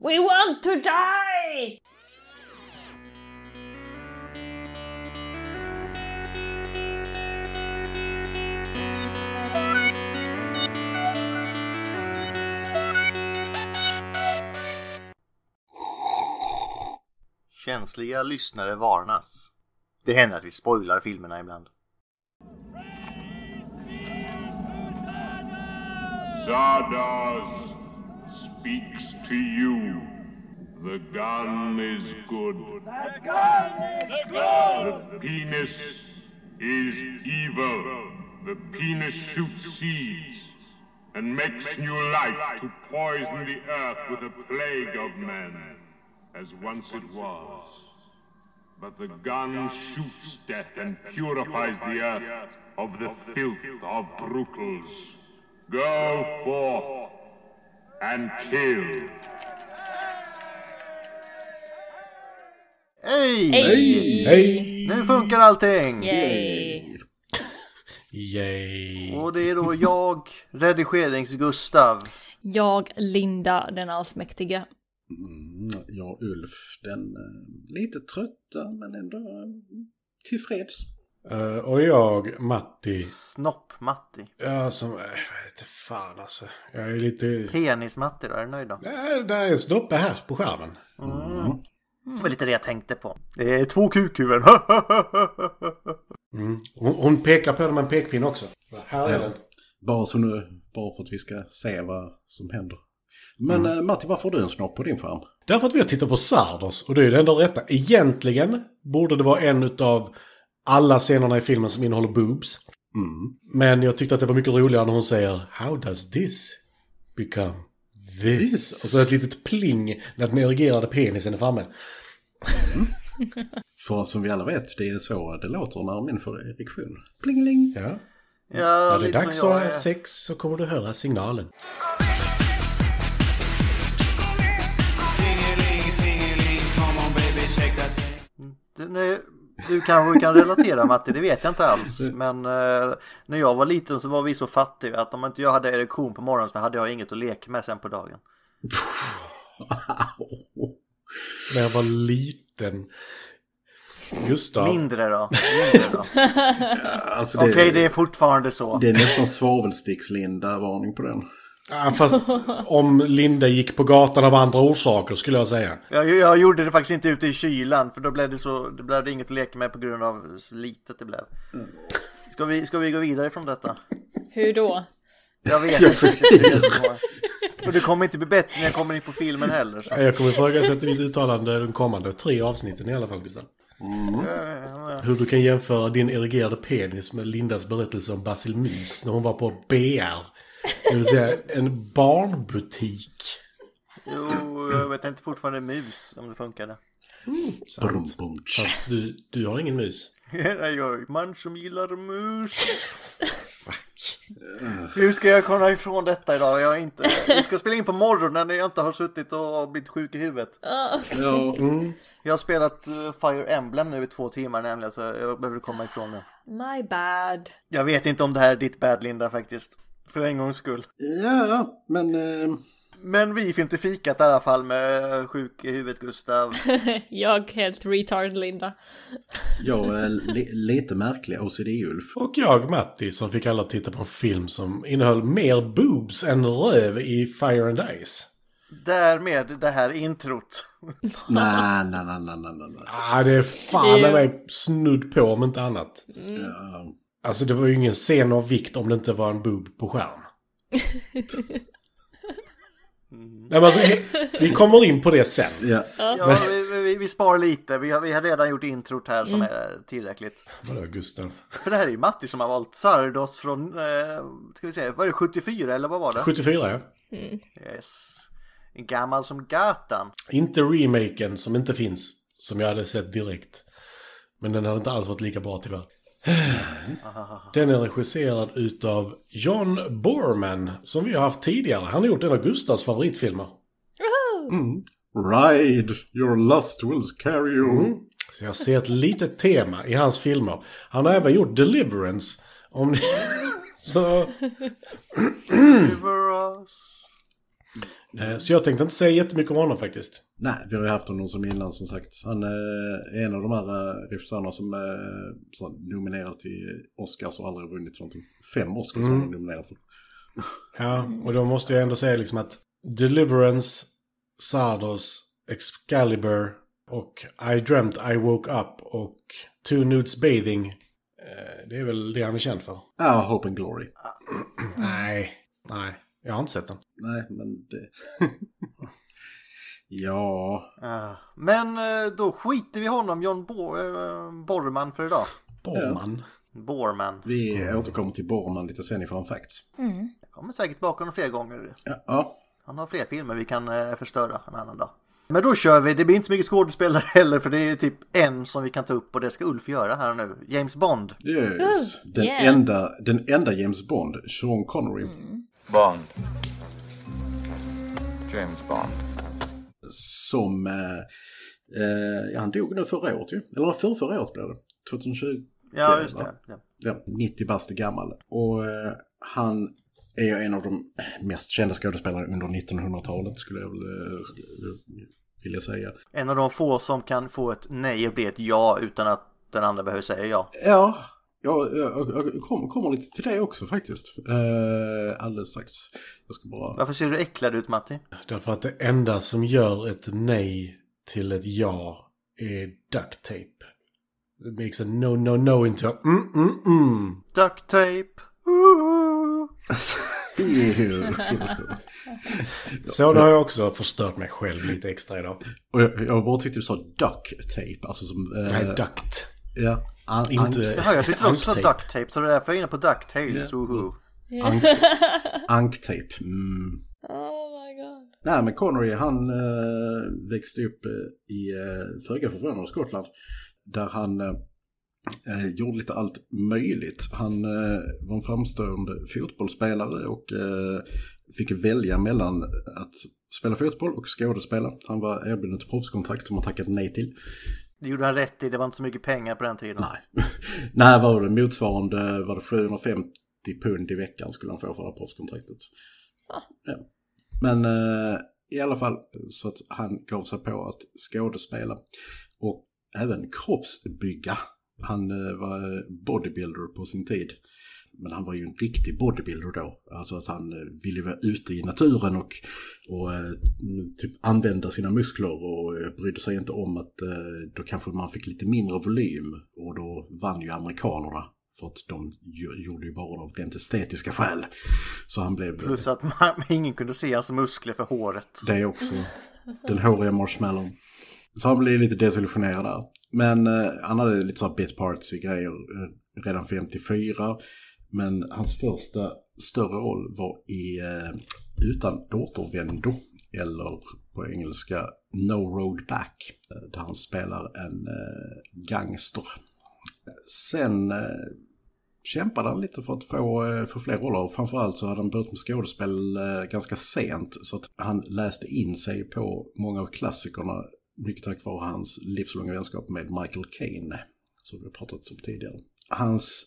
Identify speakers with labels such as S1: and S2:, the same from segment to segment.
S1: We want to die!
S2: Känsliga lyssnare varnas. Det händer att vi spoilar filmerna ibland.
S3: Zardoz speaks to you. The gun is good. The gun is good. The penis is evil. The penis shoots seeds and makes new life to poison the earth with a plague of men, as once it was. But the gun shoots death and purifies the earth of the filth of brutals. Go forth and kill.
S2: Hej!
S1: Hej!
S4: Hej!
S2: Nu funkar allting!
S1: Yay!
S4: Yay!
S2: Och det är då jag, redigerings-Gustav.
S1: Jag, Linda, den allsmäktiga.
S5: Mm, ja, Ulf, den eh, lite trötta men ändå eh, tillfreds.
S4: Eh, och jag, Matti.
S2: Snopp-Matti.
S4: Ja, som... eh, Jag vet inte fan alltså. Jag är lite...
S2: Penis-Matti då, är du nöjd då?
S4: Där, där är en snoppe här på skärmen.
S2: Det var lite det jag tänkte på. Det är två kukhuvuden.
S4: Mm. Hon, hon pekar på den med en pekpinne också. Här är
S5: Ja.
S4: den.
S5: Bara, så nu, bara för att vi ska se vad som händer. Men eh, Matti, varför har du en snopp på din skärm?
S4: Därför att vi har tittat på Sardos och det är ju det enda rätta. Egentligen borde det vara en av alla scenerna i filmen som innehåller boobs.
S5: Mm.
S4: Men jag tyckte att det var mycket roligare när hon säger How does this become this?
S5: This.
S4: Och så ett litet pling när den erigerade penisen är framme.
S5: För som vi alla vet, det är så det låter när min får erektion. Plingeling!
S4: Ja.
S2: ja,
S4: När det är
S2: lite
S4: dags
S2: som
S4: att
S2: jag
S4: ha
S2: är.
S4: sex så kommer du höra signalen.
S2: Du, nu, du kanske kan relatera Matti, det vet jag inte alls. Men eh, när jag var liten så var vi så fattiga att om inte jag hade erektion på morgonen så hade jag inget att leka med sen på dagen.
S4: När jag var liten. Gustav.
S2: Mindre då. Mindre då.
S5: Alltså,
S2: Okej, det är fortfarande så.
S5: det är nästan svavelstickslinda-varning på den.
S4: Ja, fast om Linda gick på gatan av andra orsaker skulle jag säga.
S2: Jag, jag gjorde det faktiskt inte ute i kylan för då blev det, så, det blev inget att leka med på grund av så litet det blev. Ska vi, ska vi gå vidare från detta?
S1: Hur då?
S2: Jag vet inte. det är så. Och det kommer inte bli bättre när jag kommer in på filmen heller. Så.
S4: Ja, Jag kommer ifrågasätta ditt uttalande de kommande tre avsnitten i alla fall Gustav.
S2: Eh,
S4: Hur du kan jämföra din erigerade penis med Lindas berättelse om Basil Mus när hon var på BR. Det vill säga en barnbutik.
S2: Jo, jag vet inte fortfarande mus om det funkade.
S5: Brum, bum, tsch.
S4: Fast du, du har ingen mus.
S2: Här är jag, man som gillar mus. Hur ska jag komma ifrån detta idag? Jag är inte... Vi ska spela in på morgonen när jag inte har suttit och blivit sjuk i huvudet.
S5: Ja,
S4: Mm.
S2: Jag har spelat eh, Fire Emblem nu i två timmar nämligen så jag behöver komma ifrån det.
S1: My bad.
S2: Jag vet inte om det här är ditt bad Linda faktiskt. För en gångs skull.
S5: ja, men... Eh,
S2: Men vi fick inte fikat i alla fall med eh, sjuk i huvudet Gustav.
S1: Jag helt retard Linda.
S5: jag är eh, li- lite märklig OCD-Ulf.
S4: Och jag, Matti, som fick alla att titta på en film som innehöll mer boobs än röv i Fire and Ice.
S2: Därmed det här introt.
S5: Nej, nej, nej, nej, nej, nej, nej.
S4: Ah, det är Mm. fan i mig snudd på om inte annat.
S5: Ja,
S4: Alltså det var ju ingen scen av vikt om det inte var en boob på skärm. Nej, men alltså, vi kommer in på det sen.
S5: ja.
S2: Ja, vi, vi, vi sparar lite. Vi har, vi har redan gjort introt här som är tillräckligt.
S4: Vadå Gustav?
S2: För det här är ju Matti som har valt Sardos från, eh, ska vi säga, var det 74 eller vad var det?
S4: 74 ja.
S2: Yes. Gammal som gatan.
S4: Inte remaken som inte finns. Som jag hade sett direkt. Men den hade inte alls varit lika bra tyvärr. Den är regisserad utav John Borman. Som vi har haft tidigare. Han har gjort en av Gustavs favoritfilmer.
S1: Mm.
S5: Ride, your lust will carry you.
S4: Så jag ser ett litet tema i hans filmer. Han har även gjort Deliverance. Om ni... Så...
S2: Mm. Över oss.
S4: Eh, Så jag tänkte inte säga jättemycket om honom faktiskt.
S5: Nej, vi har ju haft honom som innan som sagt. Han eh, är en av de här eh, regissörerna som eh, så nominerad till Oscars och aldrig vunnit någonting. Fem Oscars har han nominerad för.
S4: Ja, och då måste jag ändå säga liksom att Deliverance, Sardos, Excalibur och I Dreamt I Woke Up och Two Nudes Bathing. eh, Det är väl det han är känd för.
S5: Ja, Hope and Glory.
S4: Nej, nej. Jag har inte sett den.
S5: Nej, men det... ja,
S2: Ah. Men eh, då skiter vi i honom, John Bo- eh, Borman för idag.
S4: Borman.
S2: Borman.
S5: vi återkommer till Borman lite sen i Fun Facts.
S2: Jag kommer säkert tillbaka honom fler gånger.
S5: Ja, ja.
S2: Han har fler filmer vi kan eh, förstöra en annan dag. Men då kör vi, det blir inte så mycket skådespelare heller för det är typ en som vi kan ta upp och det ska Ulf göra här nu. James Bond.
S5: Yes. Den,
S1: yeah.
S5: enda, den enda James Bond, Sean Connery.
S6: Bond. James Bond.
S5: Som... Eh, eh, ja, han dog nu förra året ju. Eller för förra året blev det. 2020.
S2: Ja, just
S5: va?
S2: det. Ja.
S5: ja, 90 bast gammal. Och eh, han är ju en av de mest kända skådespelarna under 1900-talet skulle jag väl eh, vilja säga.
S2: En av de få som kan få ett nej och bli ett ja utan att den andra behöver säga ja.
S5: Ja, jag, jag, jag kommer, kommer lite till det också faktiskt. Eh, alldeles strax. Jag ska bara...
S2: Varför ser du äcklad ut Matti?
S4: Därför att det enda som gör ett nej till ett ja är duct tape. It makes a no, no, no into a mm, mm, mm.
S2: Duct tape. Ooh.
S4: Så då har jag också förstört mig själv lite extra idag.
S5: Och jag, jag bara tyckte du sa duck tape. Alltså som... eh,
S4: Nej, duct.
S5: Ja. An,
S4: Inte...
S2: Jaha, jag tyckte också
S4: Anktape.
S2: duct tape så det är därför jag är inne på duct tails. Yeah.
S5: Ank, ank tape. Mm.
S1: Oh my god.
S5: Nej, men Connery han eh, växte upp eh, i eh, föga förvånande Skottland. Där han eh, gjorde lite allt möjligt. Han eh, var en framstående fotbollsspelare och eh, fick välja mellan att spela fotboll och skådespela. Han var erbjuden ett proffskontrakt som han tackade nej till.
S2: Det gjorde han rätt i, det var inte så mycket pengar på den tiden.
S5: Nej. Nej, vad var det? Motsvarande var det 750 pund i veckan skulle han få för det här proffskontraktet. Ja. Men eh, i alla fall så att han gav sig på att skådespela och även kroppsbygga. Han eh, var bodybuilder på sin tid. Men han var ju en riktig bodybuilder då. Alltså att han eh, ville vara ute i naturen och, och eh, typ använda sina muskler och eh, brydde sig inte om att eh, då kanske man fick lite mindre volym och då vann ju amerikanerna. För att de ju- gjorde ju bara det av rent estetiska skäl. Så han blev... eh,
S2: Plus att man, ingen kunde se hans muskler för håret.
S5: Det är också. Den håriga marshmallown. Så han blev lite desillusionerad där. Men eh, han hade lite så här bit parts i grejer eh, redan 54. Men hans första större roll var i eh, Utan återvändo. Eller på engelska No Road Back. eh, Där han spelar en eh, gangster. Sen eh, kämpade han lite för att få eh, för fler roller. Och Framförallt så hade han börjat med skådespel eh, ganska sent. Så att han läste in sig på många av klassikerna. Mycket tack vare hans livslånga vänskap med Michael Caine. Som vi har pratat om tidigare. Hans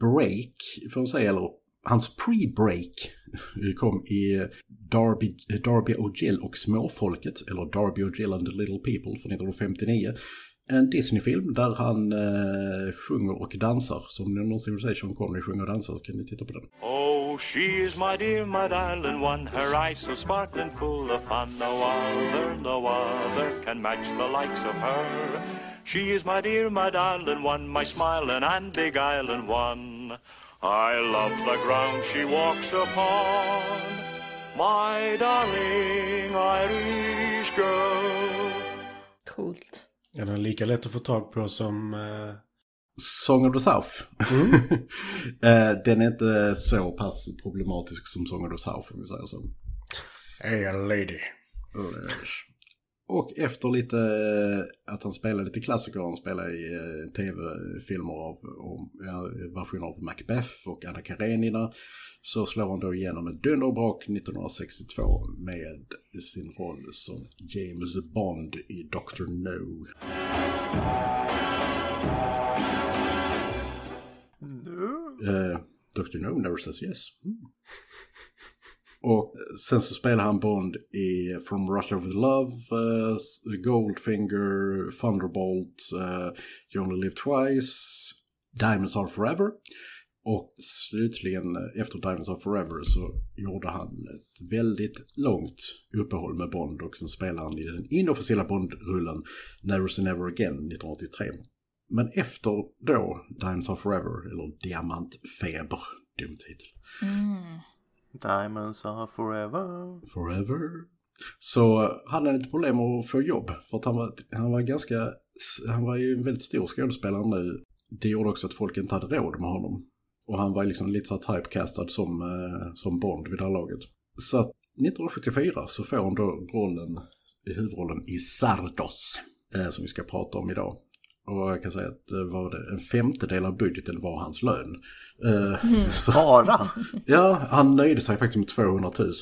S5: break, får man säga, eller hans pre-break kom i Darby, Darby O'Gill och Småfolket, eller Darby O'Gill and the Little People från 1959. En Disney-film där han eh, sjunger och dansar. Så om ni någonsin vill se Sean Connery sjunga och dansa så kan ni titta på den.
S7: Oh, she's my dear, my darling one, her eyes so sparkling full of fun. No other, no other can match the likes of her. She is my dear, my darling one, my smiling and beguiling one. I love the ground she walks upon. My darling Irish girl.
S1: Coolt.
S4: Ja, den är lika lätt att få tag på som... eh,
S5: Song of the South. eh, den är inte så pass problematisk som Song of the South om vi säger så.
S4: Hey, a lady.
S5: Ullers. Och efter lite eh, att han spelade lite klassiker, han spelade i eh, tv-filmer av om, eh, versioner av Macbeth och Anna Karenina, så slår han då igenom med dunderbrak 1962 med sin roll som James Bond i Dr. No. Eh, Dr. No never says yes. Mm. Och sen så spelar han Bond i From Russia With Love, eh, Goldfinger, Thunderbolt, eh, You Only Live Twice, Diamonds Are Forever. Och slutligen eh, efter Diamonds Are Forever så gjorde han ett väldigt långt uppehåll med Bond och sen spelade han i den inofficiella Bond-rullen Never Say Never Again 1983. Men efter då Diamonds Are Forever, eller Diamantfeber, dum titel.
S2: Diamonds are forever.
S5: Forever. Så eh, hade han lite problem att få jobb för att han var, han var ganska, han var ju en väldigt stor skådespelare nu. Det gjorde också att folk inte hade råd med honom. Och han var ju liksom lite så här typecastad som, eh, som Bond vid det här laget. Så att 1974 så får han då rollen, huvudrollen i Sardos, eh, som vi ska prata om idag. Och jag kan säga att eh, vad var det, en femtedel av budgeten var hans lön. Eh, så,
S2: Bara?
S5: Ja, han nöjde sig faktiskt med 200 000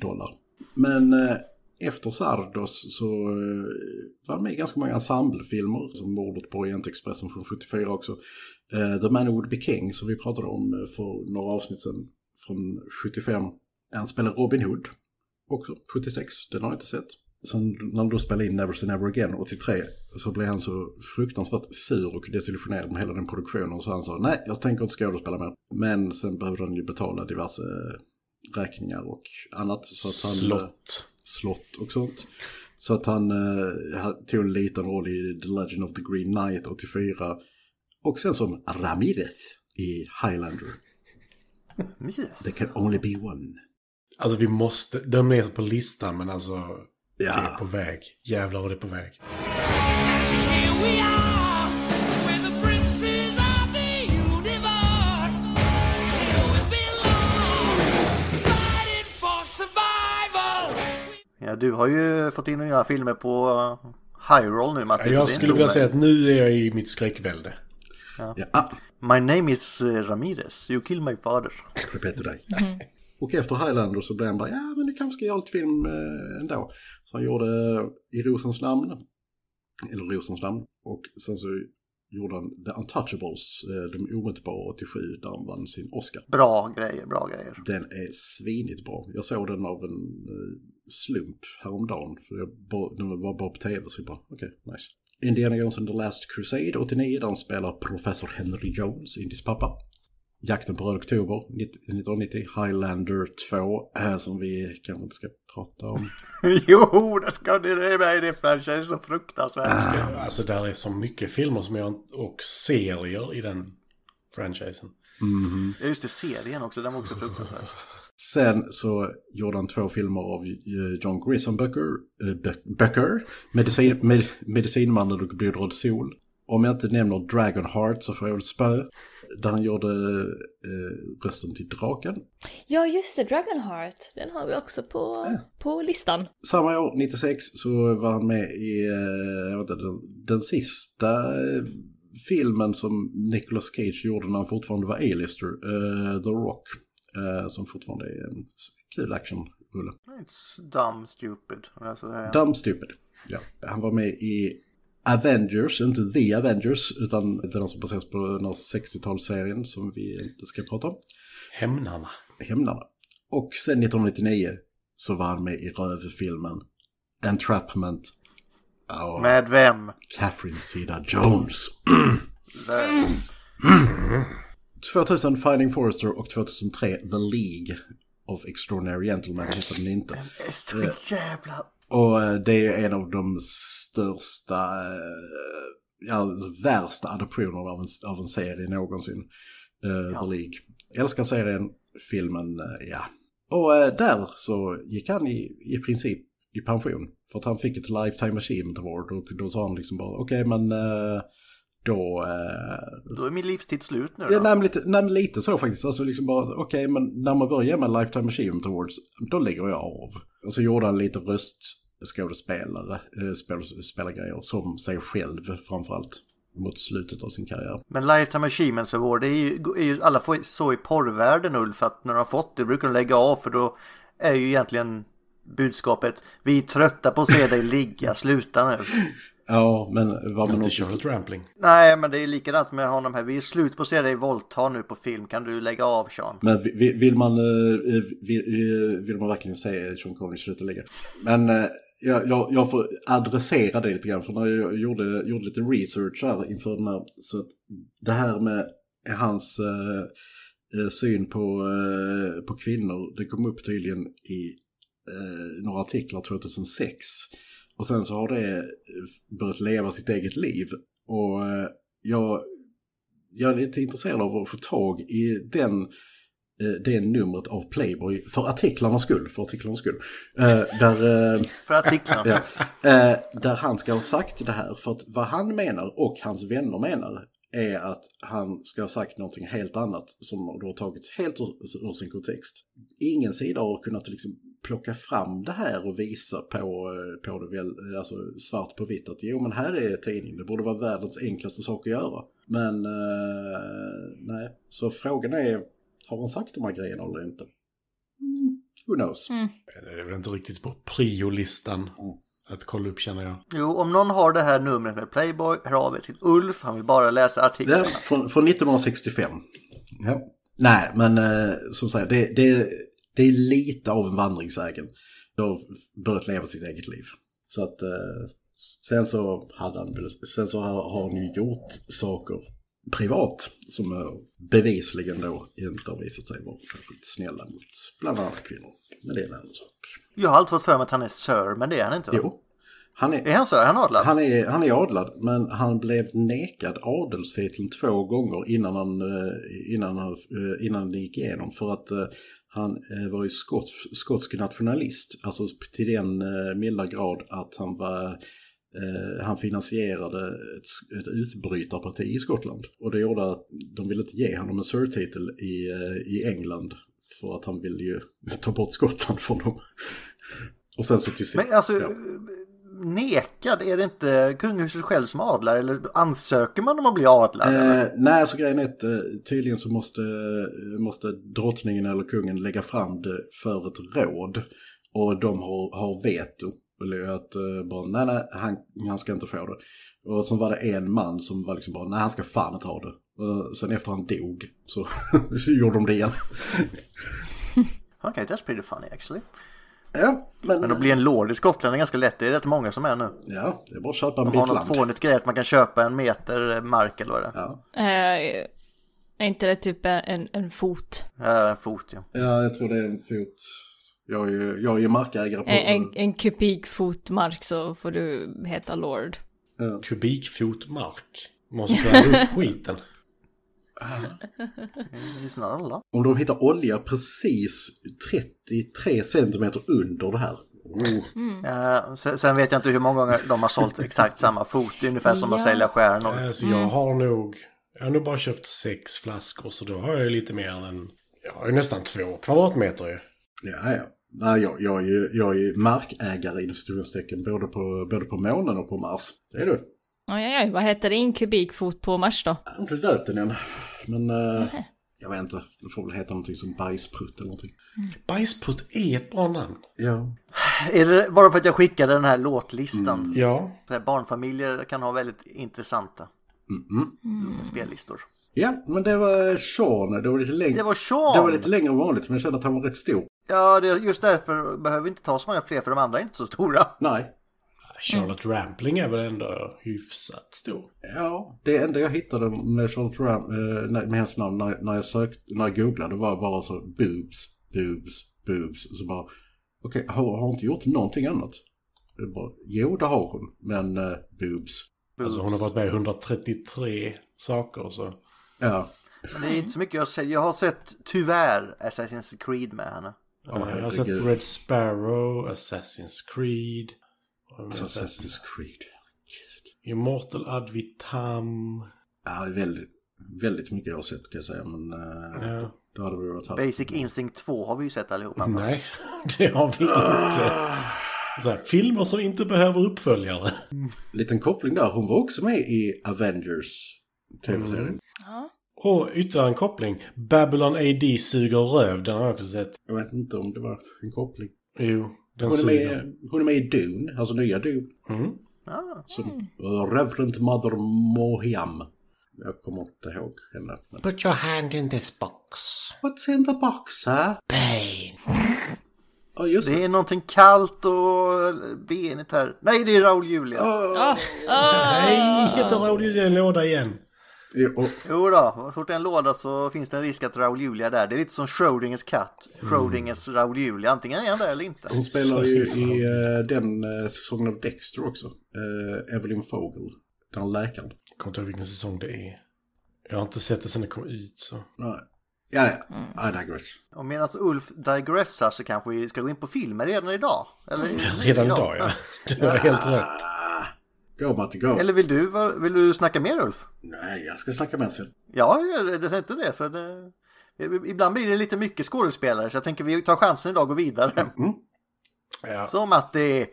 S5: dollar. Men eh, efter Sardos så eh, var han med i ganska många ensemblefilmer, som Mordet på Orientexpressen från 74 också. Eh, The Man Who Would Be King, som vi pratade om eh, för några avsnitt sedan, från 75. Han spelar Robin Hood också, 76. Den har jag inte sett. Sen när de då spelade in Never Say Never Again 83 så blev han så fruktansvärt sur och desillusionerad med hela den produktionen så han sa nej, jag tänker inte skådespela mer. Men sen behövde han ju betala diverse eh, räkningar och annat. Så att han, eh,
S4: Slott.
S5: slott och sånt. Så att han eh, ha- tog en liten roll i The Legend of the Green Knight 84. Och sen som Ramirez i Highlander.
S2: Yes.
S5: There can only be one.
S4: Alltså vi måste, de är på listan men alltså det är
S5: Ja,
S4: på väg. Jävlar vad det är på väg.
S6: Here we are, we're the princes of the universe. Here we belong, fighting for survival.
S2: Ja, du har ju fått in dina filmer på eh, High Roll nu Matti. så det är
S4: Jag
S2: inte
S4: skulle vilja
S2: omöjligt.
S4: säga att nu är jag i mitt skräckvälde.
S5: ja. Ah.
S2: My name is eh, Ramirez, you kill my father.
S5: Repet dig. Och efter Highlander så blev han bara, ja men det kanske ska göra lite film eh, ändå. Så han gjorde I Rosens namn, eller Rosens namn, och sen så gjorde han The Untouchables, eh, De omätbara 87, där han vann sin Oscar.
S2: Bra grejer, bra grejer.
S5: Den är svinigt bra. Jag såg den av en eh, slump häromdagen. För jag bara, den var bara på tv så jag bara, okej, nice. Indiana Jones and the Last Crusade 89, där han spelar professor Henry Jones, Indies pappa. Jakten på Röd Oktober 1990, Highlander 2, eh, som vi kanske inte ska prata om.
S2: jo, det ska ni det är med i det franchise så fruktansvärt.
S4: Ska- Alltså där är så mycket filmer som jag, och serier i den franchisen.
S2: Ja, just det, serien också, den var också fruktansvärd.
S5: Sen så gjorde han två filmer av eh, John Grisham böcker, eh, bö- böcker medicin, med, Medicinmannen och Blodröd sol. Om jag inte nämner Dragonheart så får jag väl spö. Där han gjorde eh, rösten till draken.
S1: Ja, just det. Dragonheart. Den har vi också på, på listan.
S5: Samma år, 96, så var han med i eh, jag vet inte, den, den sista eh, filmen som Nicolas Cage gjorde när han fortfarande var A-lister, eh, The Rock. Eh, som fortfarande är en kul actionrulle.
S2: It's dumb stupid. Alltså, eh,
S5: Dumb Stupid. Ja. Han var med i Avengers, inte The Avengers, utan den som baseras på den här 60-talsserien som vi inte ska prata om.
S4: Hämnarna.
S5: Hämnarna. Och sen 1999 så var han med i rövfilmen Entrapment. av
S2: Med vem?
S5: Catherine Zeta Jones.
S2: Vem?
S4: Mm.
S5: 2000 Finding Forrester och 2003 The League of Extraordinary Gentlemen hette den inte.
S2: Det är så jävla...
S5: Och eh, det är en av de största, eh, ja, värsta adoptionerna av en, av en serie någonsin. Uh, The League. Älskar serien, filmen, eh, ja. Och eh, där så gick han i, i princip i pension. För att han fick ett Lifetime Achievement Award och då sa han liksom bara okej men eh, då... eh,
S2: Då är min livstid slut nu
S5: Ja,
S2: då.
S5: nej, men lite, nej, men lite så faktiskt. Alltså liksom bara, okej, men när man börjar med Lifetime Achievement Awards, då lägger jag av. Och så gjorde han lite röstskådespelare, eh, spel- spelargrejer, som sig själv framförallt, mot slutet av sin karriär.
S2: Men Lifetime Achievements Award, det är ju, är ju alla får, så i porrvärlden Ulf, att när de har fått det brukar de lägga av för då är ju egentligen budskapet vi är trötta på att se dig ligga, sluta nu.
S5: Ja, men vad man
S4: Inte
S5: också...
S4: Charlotte Rampling.
S2: Nej, men det är likadant med honom här. Vi är slut på att se dig våldta nu på film. Kan du lägga av Sean?
S5: Men vi- vi- vill man, eh, eh, vill, eh, vill man verkligen säga Sean Connery sluta ligga? Men eh, jag, jag, jag får adressera det lite grann, för när jag gjorde, gjorde lite research här inför den här, så att det här med hans eh, eh, syn på, eh, på kvinnor, det kom upp tydligen i eh, några artiklar 2006. Och sen så har det eh, börjat leva sitt eget liv. Och eh, jag, jag är lite intresserad av att få tag i den, eh, det numret av Playboy, för artiklarnas skull, för artiklarnas skull. Eh, Där, eh,
S2: För artiklarna.
S5: ja, eh, där han ska ha sagt det här, för att vad han menar och hans vänner menar är att han ska ha sagt någonting helt annat som då har tagits helt ur, ur sin kontext. Ingen sida har kunnat liksom plocka fram det här och visa på, eh, på det väl, alltså svart på vitt att jo men här är tidningen, det borde vara världens enklaste sak att göra. Men eh, nej, så frågan är, har han sagt de här grejerna eller inte? Mm, who knows?
S4: Det är väl inte riktigt på priolistan att kolla upp känner jag.
S2: Jo, om någon har det här numret med Playboy, hör av er till Ulf. Han vill bara läsa
S5: Ja,
S2: artiklarna.
S5: från, från 1965. Ja. Nej, men eh, som sagt, det, det, det är lite av en vandringssägen. Det har börjat leva sitt eget liv. Så att eh, sen så hade han, väl- sen så har har han ju gjort saker privat som eh, bevisligen då inte har visat sig vara särskilt snälla mot bland annat kvinnor. Men det är en annan sak.
S2: Jag har alltid fått för mig att han är sir, men det är han inte. va?
S5: Jo, han är,
S2: Är han sir? Är han adlad?
S5: han är, han är adlad, men han blev nekad adelstiteln två gånger innan, han, eh, innan, han, eh, innan det gick igenom. För att eh, han eh, var ju skots, skotsk nationalist, alltså till den eh, milda grad att han var eh, han finansierade ett, ett utbrytarparti i Skottland. Och det gjorde att de ville inte ge honom en sir-titel i, eh, i England. För att han ville ju ta bort Skottland från dem. Och sen så till sist...
S2: Men alltså,
S5: Typ. ja.
S2: nekad, är det inte kungahuset själv som adlar? Eller ansöker man om att bli adlad? eller?
S5: Eh, nej, så grejen är att eh, tydligen så måste, måste drottningen eller kungen lägga fram det för ett råd. Och de har, har veto. Eller att eh, bara, nej, nej, han, han ska inte få det. Och sen var det en man som var liksom bara, nej, han ska fan inte ha det. Eh, sen efter han dog så, så gjorde de det igen.
S2: Okej, okay, that's pretty funny actually.
S5: ja, men,
S2: Men att bli en lord i Skottland är ganska lätt. Det är rätt många som är nu.
S5: ja, det är bara att köpa en
S2: De har
S5: bit
S2: något
S5: land.
S2: fånigt grej att man kan köpa en meter mark eller vad det är.
S5: Ja.
S1: Eh, är inte det typ en, en fot?
S2: Ja. En Eh, fot ja.
S5: ja, jag tror det är en fot. Jag är ju, jag är ju markägare på...
S1: En, en, en kubikfot mark så får du heta Lord.
S4: Kubikfot mark. Måste vara upp skiten.
S5: Mm.
S2: Lyssnar alla?
S5: Om de hittar olja precis 33 centimeter under det här. Oh.
S2: Eh, sen, sen vet jag inte hur många gånger de har sålt exakt samma fot. Det är ungefär som att
S1: Ja.
S2: sälja stjärnor.
S4: Alltså, jag har nog... Jag har nog bara köpt sex flaskor så då har jag ju lite mer än... Jag har ju nästan två kvadratmeter ju.
S5: Ja, ja. Nej, jag, jag, är ju, jag är ju markägare inom situationstecken både på, både på månen och på Mars. Det är du.
S1: Oj, oj, oj, vad heter din kubikfot på Mars då?
S5: Jag har inte döpt den än. Men eh, jag vet inte. Det får väl heta någonting som bajsprutt eller någonting.
S4: Bajsprutt är ett bra namn.
S5: Ja.
S2: Eh, Är det bara för att jag skickade den här låtlistan?
S5: Mm.
S4: Ja.
S2: Så här, barnfamiljer kan ha väldigt intressanta
S5: Mm-hmm.
S2: spellistor.
S5: Ja, men det var Sean. Det var lite längre.
S2: Det var Sean!
S5: Det var lite längre än vanligt, men jag kände att han var rätt stor.
S2: Ja, det, just därför behöver vi inte ta så många fler för de andra är inte så stora.
S5: Nej.
S4: Ah, Charlotte Rampling är väl ändå hyfsat stor.
S5: Ja, det enda jag hittade med Charlotte Ram, eh, när- med hennes namn när, när jag sökte, när jag googlade var bara så boobs, boobs, boobs. Så bara, okej, har, har hon inte gjort någonting annat? Det är Bara, jo, det har hon, men eh, boobs.
S4: Alltså hon har varit med i 133 saker så...
S5: Ja,
S2: Men det är inte så mycket jag sett. Jag har sett tyvärr Assassin's Creed med henne.
S4: Ja, jag har sett
S5: herregud.
S4: Red Sparrow, Assassin's Creed. Vad har jag
S5: så
S4: sett?
S5: Alltså, Assassin's Creed. Herregud.
S4: Immortal Ad Vitam.
S5: Ja, det är väldigt, väldigt mycket jag har sett kan jag säga, men eh,
S4: Ja.
S5: då hade vi varit här.
S2: Basic Instinct 2 har vi ju sett allihopa.
S4: Mm. Nej, det har vi inte.
S5: Ah.
S4: Så här, filmer som inte behöver uppföljare.
S5: Liten koppling där, hon var också med i Avengers tv-serien.
S4: Mm.
S1: Ja.
S4: Och ytterligare en koppling. Babylon AD suger röv, den har jag också sett.
S5: Jag vet inte om det var en koppling.
S4: Jo, den
S5: Hon är,
S4: suger.
S5: med, hon är med i Dune, alltså nya Dune.
S4: Mm.
S2: Ja.
S5: Som Reverend Mother Mohiam. Jag kommer inte ihåg henne. Men...
S8: Put your hand in this box.
S5: What's in the box, huh?
S8: Pain.
S5: Ja, just det.
S2: Det är någonting kallt och benigt här. Nej, det är Raoul Julia.
S4: Ah. Nej, inte Raoul Julia i en låda igen.
S5: Jo, och-
S2: Jo då, så fort det är en låda så finns det en risk att Raoul Julia är där. Det är lite som Schrödingers katt.
S4: Mm.
S2: Schrödingers Raoul Julia. Antingen är han där eller inte.
S5: Hon spelar ju i eh, den eh, säsongen av Dexter också. Eh, Evelyn Fogel. Den här läkaren.
S4: Jag kommer inte ihåg vilken säsong det är. Jag har inte sett det sen det kom ut. Så.
S5: Nej. Ja, ja. I digress.
S2: Och medan Ulf digressar så kanske vi ska gå in på filmer redan idag. Eller
S4: Mm. Redan idag, ja. Du har helt rätt.
S5: Ah, go, Matti, go.
S2: Eller vill du, vad- vill du snacka mer Ulf?
S5: Nej, jag ska snacka med henne sen.
S2: Ja, jag jag tänkte det. För det... Ibland blir det lite mycket skådespelare så jag tänker vi tar chansen idag och går
S5: Mm,
S2: vidare.
S4: Ja.
S2: Så Matti,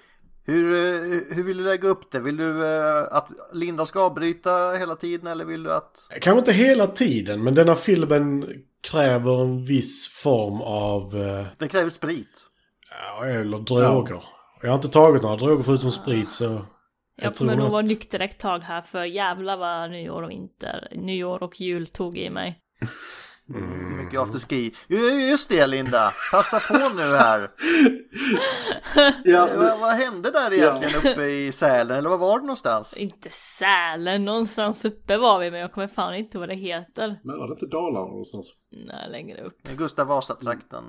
S2: hur, eh, hur vill du lägga upp det? Vill du eh, att Linda ska avbryta hela tiden eller vill du att...
S4: Kanske inte hela tiden, men denna filmen kräver en viss form av... eh,
S2: Den kräver sprit.
S4: Ja, eller droger. Jag har inte tagit några droger förutom sprit så... Jag,
S1: Jag kommer nog vara nykter ett tag här för jävlar vad nyår och vinter, nyår och jul tog i mig.
S2: Mycket afterski. Ju- Just det Linda, passa på nu här.
S5: Ja,
S2: Vad, vad hände där egentligen uppe i Sälen eller vad var det någonstans?
S1: Inte Sälen, någonstans uppe var vi men jag kommer fan inte ihåg vad det heter.
S5: men var det inte Dalarna någonstans?
S1: Nej, längre upp.
S2: Gustav Vasa-trakten.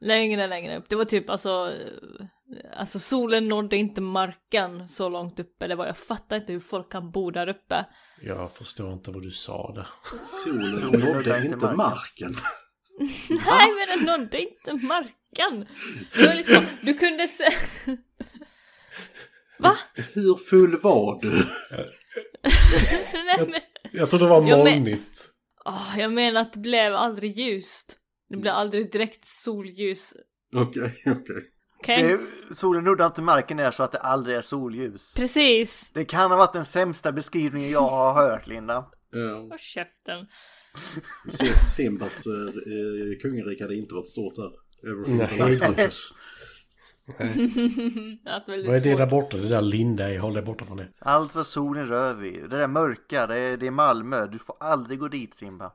S1: Längre, längre upp. Det var typ alltså... eh, Alltså solen nådde inte marken så långt uppe. Det var, jag fattar inte hur folk kan bo där uppe.
S4: Jag förstår inte vad du sa där.
S5: Solen nådde
S2: nådde
S5: inte
S2: inte
S5: marken.
S1: Nej men den nådde inte marken! Det var liksom, du kunde se... Va?
S5: Hur full var du?
S1: Nej men...
S4: Jag tror det var
S1: Ja, men-
S4: molnigt.
S1: Åh, jag menar att det blev aldrig ljust. Det blev aldrig direkt solljus.
S5: Okej, okej.
S1: Okej?
S2: Det, solen nuddar inte marken är så att det aldrig är solljus.
S1: Precis!
S2: Det kan ha varit den sämsta beskrivningen jag har hört Linda.
S5: Eh,
S1: Och käften.
S5: Sim- Simbas eh, eh, kungarike hade inte varit stort där.
S4: Nej.
S1: Att väldigt
S4: Vad är det
S1: svårt.
S4: där borta? Det där Linda är. Håll dig borta från det.
S2: Allt vad solen rör vid. Det där mörka, det är, det är Malmö. Du får aldrig gå dit Simba.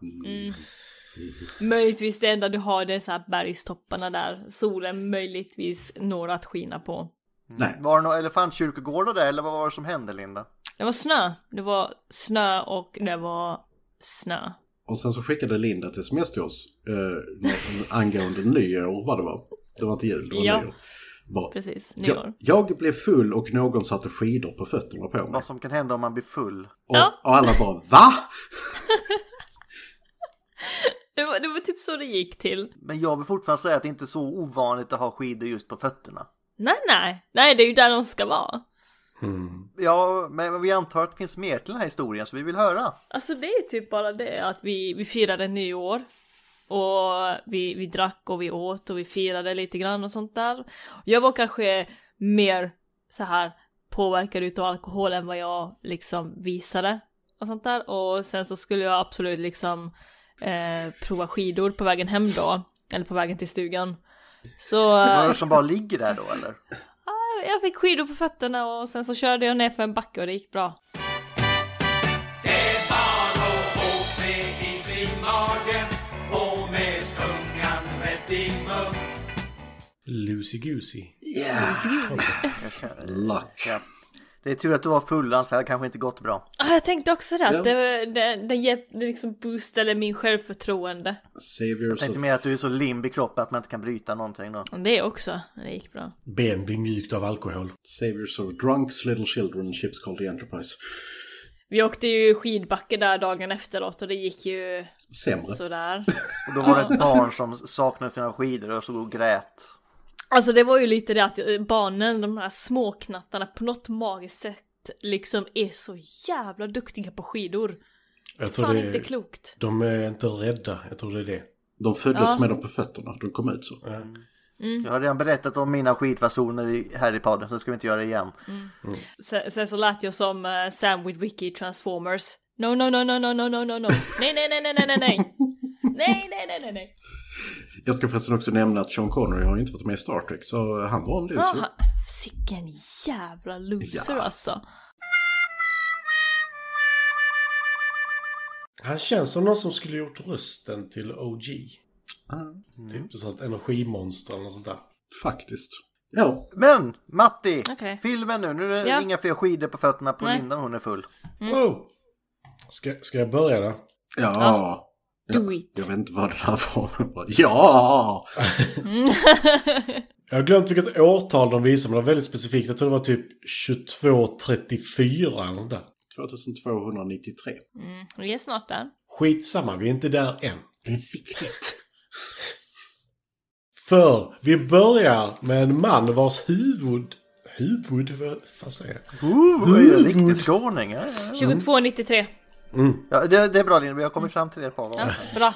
S1: Möjligtvis det enda du har det är så här bergstopparna där. Solen möjligtvis når att skina på.
S5: Nej.
S2: Var det några elefantkyrkogårdar där eller vad var det som hände Linda?
S1: Det var snö. Det var snö och det var snö.
S5: Och sen så skickade Linda ett sms till oss eh, angående nyår, vad det var. Det var inte jul, det var
S1: Ja.
S5: nyår. Bara,
S1: Precis,
S5: jag,
S1: nyår.
S5: jag blev full och någon satte skidor på fötterna på mig.
S2: Vad som kan hända om man blir full.
S5: Och,
S1: Alltså. Ja.
S5: och alla bara VA?
S1: Det var, det var typ så det gick till.
S2: Men jag vill fortfarande säga att det inte är så ovanligt att ha skidor just på fötterna.
S1: Nej, nej. Nej, det är ju där de ska vara.
S2: Ja, men vi antar att det finns mer till den här historien så vi vill höra.
S1: Alltså det är typ bara det att vi, vi firade nyår. Och vi, vi drack och vi åt och vi firade lite grann och sånt där. Jag var kanske mer så här påverkad utav alkohol än vad jag liksom visade. Och sånt där. Och sen så skulle jag absolut liksom eh, prova skidor på vägen hem då. Eller på vägen till stugan. Så...
S2: Var det som bara ligger där då eller?
S1: Jag fick skidor på fötterna och sen så körde jag ner för en backe och det gick bra.
S4: Lucy Goosey.
S5: Lack.
S2: Ja. Det är tur att du var full, annars hade det kanske inte gått bra.
S1: Ah, jag tänkte också det, att
S5: Ja.
S1: det, det, det, hjälp, det liksom boostade min självförtroende.
S5: Saviors
S2: Tänkte mer att du är så limp i kroppen att man inte kan bryta någonting då.
S1: Och Det också, det gick bra.
S4: Ben blir mjukt av alkohol.
S5: Saviors of drunks, little children, ships called the Enterprise.
S1: Vi åkte ju skidbacke där dagen efteråt och det gick ju
S5: Sämre.
S1: sådär.
S2: Och då var det ett barn som saknade sina skidor och så och grät.
S1: Alltså det var ju lite det att eh, barnen, de här småknattarna, på något magiskt sätt liksom är så jävla duktiga på skidor.
S4: Jag tror
S1: Fan
S4: det är,
S1: inte klokt.
S4: De är inte rädda. Jag tror det är det.
S5: De föddes
S1: Ja.
S5: med dem på fötterna, de kom ut så.
S1: Mm.
S2: Jag har redan berättat om mina skidfasoner i- här i podden så ska vi inte göra det igen.
S1: Sen, sen så lät jag som eh, Sam Witwicky i Transformers. No, no, no, no, no, no, no, no, no. Nej, nej, nej, nej, nej, nej, nej. Nej, nej, nej, nej, nej.
S5: Jag ska förresten också nämna att Sean Connery har ju inte varit med i Star Trek, så han var en loser.
S1: Aha, Sicken jävla loser
S5: Ja.
S1: alltså.
S4: Han känns som någon som skulle gjort rösten till OG.
S1: Mm.
S4: Typ sånt energimonster eller något sånt där.
S5: Faktiskt. Ja,
S2: Men Matti,
S1: Okej.
S2: filmen nu. Nu är det
S1: Ja.
S2: inga fler skidor på fötterna på
S1: Nej.
S2: Linda när hon är full.
S1: Mm.
S4: Wow! Ska, ska jag börja då?
S5: ja.
S1: Do it.
S5: Jag vet inte vad det där var. men bara, Ja!
S4: Jag har glömt vilket årtal de visade, men det var väldigt specifikt. Jag tror det var typ 2234 eller något sånt där.
S5: 2293.
S1: Mm, vi är snart där.
S4: Skitsamma, vi är inte där än.
S5: Det är viktigt.
S4: För vi börjar med en man vars huvud... Huvud? Vad fan säger jag?
S2: Ooh, det är ju riktigt skåning. Ja, ja, ja.
S1: 2293.
S2: Ja, det, det är bra Linda, vi har kommit fram till det ett par gånger.
S1: Ja, bra.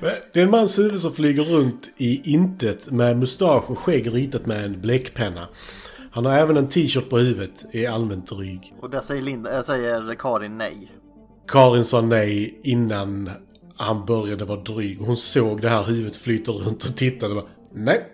S4: Men Det är en mans huvud som flyger runt i intet med mustasch och skägg ritat med en bläckpenna. Han har även en t-shirt på huvudet, är allmänt dryg.
S2: Och där säger, Linda, äh, säger Karin nej.
S4: Karin sa nej innan han började vara dryg. Hon såg det här huvudet flyta runt och tittade och bara, nej.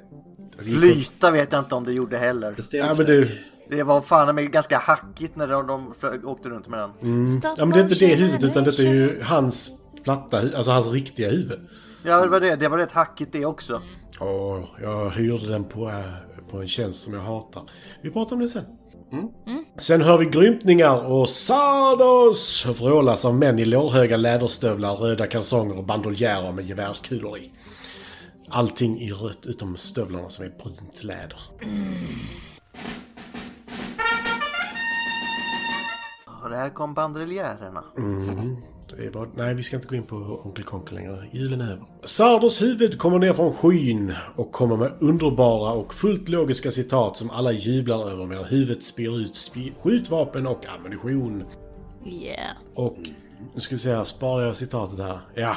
S2: Flyta vet jag inte om det gjorde heller.
S4: Ja, men det,
S2: Det var fan med ganska hackigt när de, de flög- åkte runt med den.
S1: Stop
S4: Mm. ja, men det är inte det
S1: motion
S4: huvudet utan detta är
S1: animation.
S4: ju hans platta, hu- alltså hans riktiga huvud.
S2: Ja, det var, det, det var rätt hackigt det också.
S4: Åh, jag hyrde den på, äh, på en tjänst som jag hatar. Vi pratar om det sen. Mm. Sen hör vi grymtningar och sardos vrålas av män i lårhöga läderstövlar, röda kalsonger och bandoljärer med gevärskulor i. Allting i rött utom stövlarna som är brunt läder.
S2: Och det här kom bandoliärerna.
S4: Det var, nej, vi ska inte gå in på Onkel Konkel längre. Julen är över. Sardos huvud kommer ner från skyn och kommer med underbara och fullt logiska citat som alla jublar över medan huvudet spyr ut spi- skjutvapen och ammunition.
S1: Yeah.
S4: Och nu ska vi se här, sparar jag citatet här. Ja.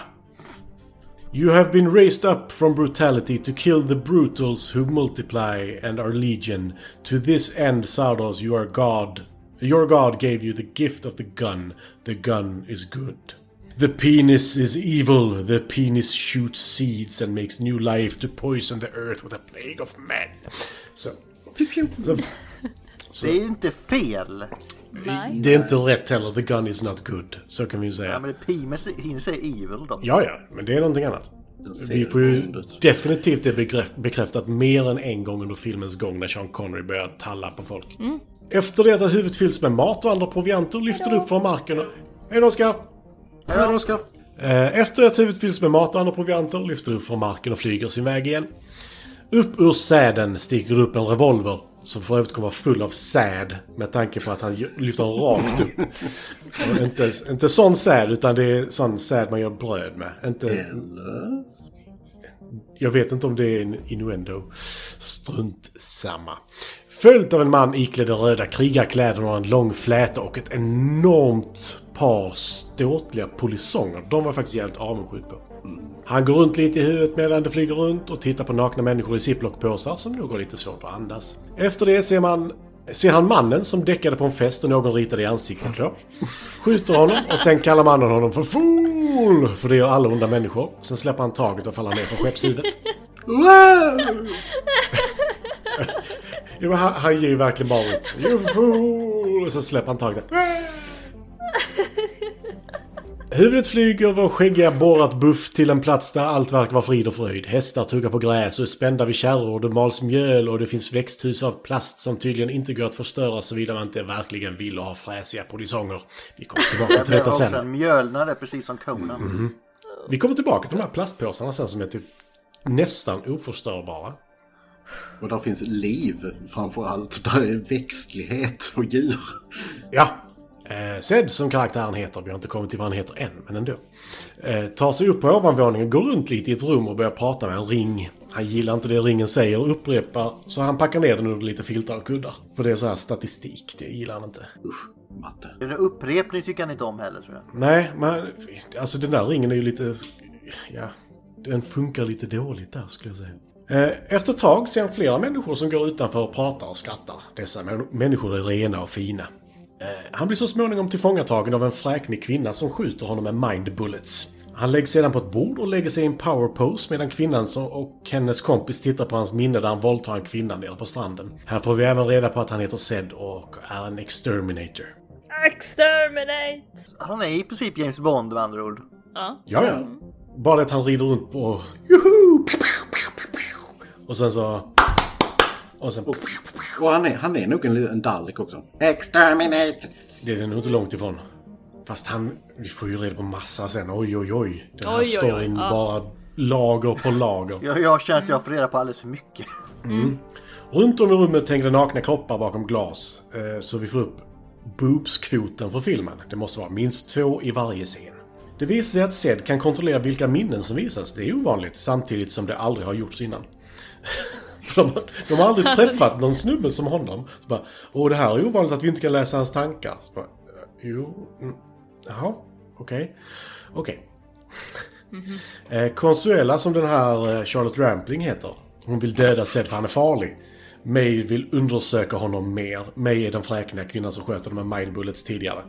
S4: You have been raised up from brutality to kill the brutals who multiply and are legion. To this end, Sardos, you are God. Your God gave you the gift of the gun. The gun is good. The penis is evil. The penis shoots seeds and makes new life to poison the earth with a plague of men. So, so
S2: Det är inte fel.
S1: Nej.
S4: det är inte rätt heller. The gun is not good. Så kan vi ju säga.
S2: Ja, men det Pimes hinner säga evil då.
S4: Ja, ja, men det är någonting annat.
S5: ser
S4: Vi får ju
S5: ond ut.
S4: definitivt det begrepp- bekräftat mer än en gång under filmens gång när Sean Connery börjar talla på folk. Efter det att huvudet fylls med mat och andra provianter lyfter det upp från marken och... Hej då, Oskar!
S5: Här Oskar.
S4: Eh, Efter att huvudet fylls med mat och andra provianter lyfter det upp från marken och flyger sin väg igen. Upp ur säden sticker det upp en revolver som för övrigt kommer vara full av säd med tanke på att han ju- lyfter den rakt upp. Och inte, inte sån säd utan det är sån säd man gör bröd med. Inte,
S5: Eller?
S4: jag vet inte om det är en innuendo. Strunt samma. Följt av en man iklädd i röda krigarkläder och en lång fläta och ett enormt par ståtliga polisonger. De var jag faktiskt jävligt avundsjuk på. Han går runt lite i huvudet medan det flyger runt och tittar på nakna människor i ziplockpåsar som nog har lite svårt att andas. Efter det ser man ser han mannen som däckade på en fest och någon ritade i ansiktet på. Skjuter honom och sen kallar mannen honom för FOOL! För det gör alla onda människor. Sen släpper han taget och faller ner från skeppshuvudet.
S5: Wow!
S4: Jo, men han, han ger ju verkligen bara upp. You fool! Och så släpper han taget. Huvudet flyger över skäggiga borrat buff till en plats där allt verkar vara frid och fröjd. Hästar tuggar på gräs och är spända vid kärror och det mals mjöl och det finns växthus av plast som tydligen inte går att förstöra såvida man inte verkligen vill och har fräsiga polisonger. Vi kommer tillbaka
S2: Det
S4: till
S2: var
S4: detta
S2: också
S4: sen. Mhm.
S2: en mjölnare precis som Conan.
S4: Vi kommer tillbaka till de här plastpåsarna sen som är typ nästan oförstörbara.
S5: Och där finns liv framför allt. Där är växtlighet och djur.
S4: Ja. Eh, Zed som karaktären heter, vi har inte kommit till vad han heter än, men ändå. Eh, tar sig upp på ovanvåningen, går runt lite i ett rum och börjar prata med en ring. Han gillar inte det ringen säger och upprepar, så han packar ner den under lite filtar och kuddar. För det är så här statistik, det gillar han inte.
S5: Usch, matte.
S2: Den där upprepning tycker han inte om heller tror jag.
S4: Nej, men alltså den där ringen är ju lite... Ja, den funkar lite dåligt där skulle jag säga. Eh, Efter ett tag ser han flera människor som går utanför och pratar och skrattar. Dessa män- människor är rena och fina. Eh, Han blir så småningom tillfångatagen av en fräknig kvinna som skjuter honom med mind bullets. Han läggs sedan på ett bord och lägger sig i en power pose medan kvinnan som- och hennes kompis tittar på hans minne där han våldtar en kvinna nere på stranden. Här får vi även reda på att han heter Zed och är en exterminator.
S1: Exterminate!
S2: Han är i princip James Bond med andra ord.
S1: Ja.
S4: Ja, ja.
S5: Mm.
S4: Bara det att han rider runt på... Juhu! Pew, pew, pew, pew, pew. Och sen så... Och sen...
S5: Och han är, han är nog en, li- en dalek också. Exterminate!
S4: Det är det nog inte långt ifrån. Fast han... Vi får ju reda på massa sen. Oj, oj, oj. Den här
S1: Oj, oj, oj,
S4: storyn
S1: ja.
S4: bara lager på lager.
S2: Jag, jag känner att jag får reda på alldeles för mycket.
S4: Runt om i rummet hängde nakna kroppar bakom glas. eh, Så vi får upp boobskvoten för filmen. Det måste vara minst två i varje scen. Det visar sig att Zed kan kontrollera vilka minnen som visas. Det är ovanligt, samtidigt som det aldrig har gjorts innan. För de, de har aldrig träffat någon snubbe som honom. Så bara, Åh, det här är ovanligt att vi inte kan läsa hans tankar. Så bara, "Eh, jo, mm, jaha, okej. Okej. Eh, Consuela, som den här eh, Charlotte Rampling heter, hon vill döda Zed för han är farlig. May vill undersöka honom mer. May är den fräkniga kvinnan som sköt honom med mind bullets tidigare.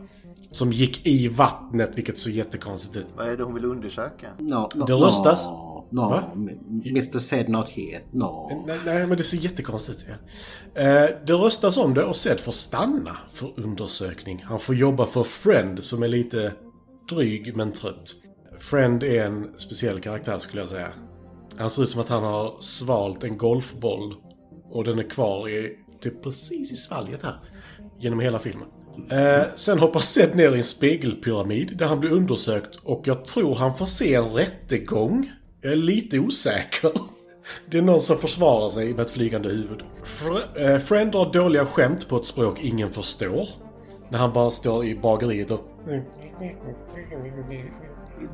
S4: Som gick i vattnet, vilket såg jättekonstigt ut.
S2: Vad är det hon vill undersöka?
S5: No, no,
S4: Det röstas.
S5: No, no,
S4: Va?
S5: m- Mr said not here. No.
S4: Nej, nej, men det ser jättekonstigt ut. Ja. Eh, det röstas om det och Zed får stanna för undersökning. Han får jobba för Friend som är lite dryg men trött. Friend är en speciell karaktär skulle jag säga. Han ser ut som att han har svalt en golfboll och den är kvar i, typ precis i svalget här. Genom hela filmen. Eh, sen hoppar Zed ner i en spegelpyramid där han blir undersökt och jag tror han får se en rättegång. Jag är lite osäker. Det är någon som försvarar sig med ett flygande huvud. Fr- eh, Friend drar dåliga skämt på ett språk ingen förstår. När han bara står i bageriet och...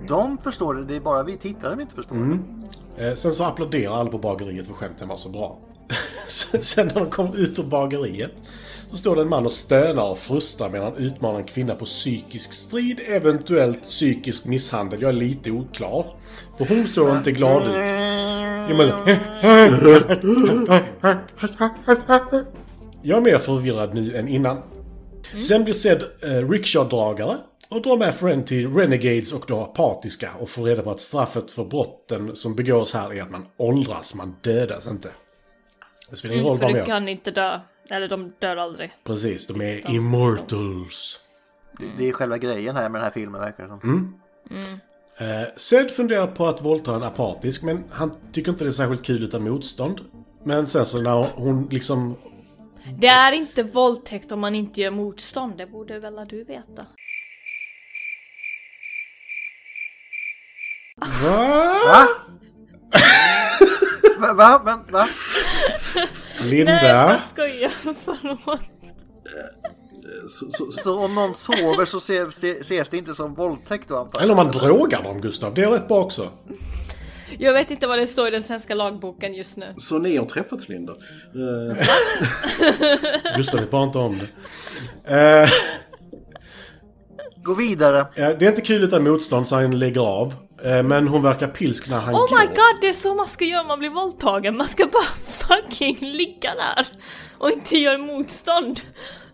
S2: De förstår det, det är bara vi tittare som inte förstår det.
S4: Eh, sen så applåderar alla på bageriet för skämten var så bra. sen sen när de kommer ut ur bageriet så står det en man och stönar och frustar medan han utmanar en kvinna på psykisk strid, eventuellt psykisk misshandel. Jag är lite oklar. För hon såg inte glad ut. Jo, men... Jag är mer förvirrad nu än innan. Sen blir Zed eh, rickshaw-dragare och drar med Friend till Renegades och då apatiska och får reda på att straffet för brotten som begås här är att man åldras, man dödas inte. Mm, Det spelar ingen roll
S1: För
S4: vad man
S1: du
S4: gör.
S1: kan inte dö. Eller de dör aldrig.
S4: Precis, de är immortals.
S2: det. Det är själva grejen här med den här filmen verkar det som.
S4: Mm. Eh, Zed funderar på att våldta en apatisk, men han tycker inte det är särskilt kul utan motstånd. Men sen så när hon liksom
S1: Det är inte våldtäkt om man inte gör motstånd. Det borde väl du veta?
S4: Va?
S2: Va? va? Men, va?
S1: Nej,
S4: Linda?
S1: jag skojar. Förlåt.
S5: Så, så, så,
S2: Så om någon sover så ser, ser, ses det inte som våldtäkt då antar jag?
S4: Eller om man drogar dem, Gustav. Det är rätt bra också.
S1: Jag vet inte vad det står i den svenska lagboken just nu.
S5: så ni har träffats Linda? Eh,
S4: Gustav vet bara inte om det. Eh,
S2: Gå vidare.
S4: ja, det är inte kul utan motstånd, så han lägger av. Eh, men hon verkar pilsk när han
S1: Oh
S4: går.
S1: my god, det är så man ska göra om man blir våldtagen. Man ska bara fucking ligga där. Och inte göra motstånd.